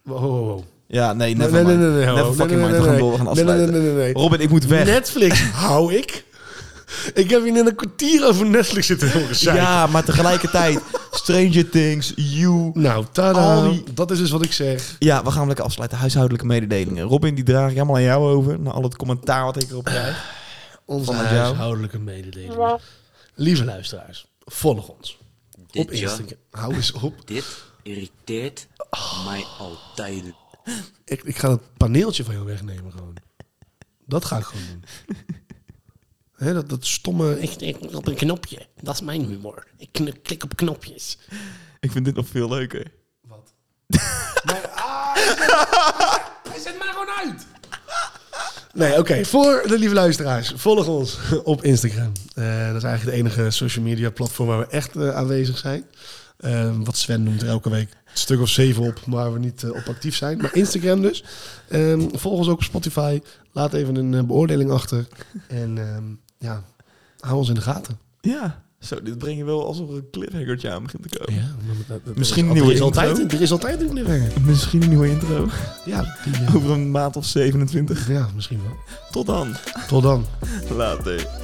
A: Wow, wow, wow.
B: Ja, nee,
A: Nee,
B: never
A: nee, nee,
B: mind.
A: nee, nee,
B: Never
A: nee,
B: fucking
A: nee, nee,
B: mind. We gaan
A: nee.
B: door, we gaan
A: Nee, nee,
B: afsluiten.
A: nee, nee, nee.
B: Robin, ik moet weg.
A: Netflix hou ik. Ik heb hier net een kwartier over Netflix zitten horen zeiken.
B: ja, maar tegelijkertijd Stranger Things, You.
A: Nou, tada.
B: Al die-
A: Dat is dus wat ik zeg.
B: Ja, we gaan hem lekker afsluiten. Huishoudelijke mededelingen. Robin, die draag ik helemaal aan jou over. Na al het commentaar wat ik erop krijg.
A: Onze
B: Vanuit jou.
A: huishoudelijke mededelingen. Lieve luisteraars, volg ons. Op
C: Dit, ja,
A: Instagram. Ah. Hou eens op.
C: dit irriteert mij altijd.
A: Ik, ik ga het paneeltje van jou wegnemen gewoon. Dat ga ik gewoon doen. Hè, dat, dat stomme...
D: Ik klik op een knopje. Dat is mijn humor. Ik kn- klik op knopjes.
B: Ik vind dit nog veel leuker.
A: Wat?
D: Zet ah, maar gewoon uit!
A: Nee, oké. Voor de lieve luisteraars, volg ons op Instagram. Eh, dat is eigenlijk de enige social media platform waar we echt eh, aanwezig zijn. Eh, wat Sven noemt er elke week een stuk of zeven op, waar we niet eh, op actief zijn. Maar Instagram dus. Ehm, volg ons ook op Spotify. Laat even een eh, beoordeling achter. En ehm, ja, hou ons in de gaten.
B: Ja. Zo, dit breng je wel alsof er een cliffhangertje aan begint te komen.
A: Ja, maar dat- dat-
B: Misschien
A: er
B: een nieuwe
A: is
B: intro.
A: altijd, Er is altijd een cliffhanger.
B: Misschien een nieuwe intro.
A: Ja, die, eh,
B: Over een maand of 27.
A: ja, misschien wel.
B: Tot dan.
A: Tot dan.
B: Later.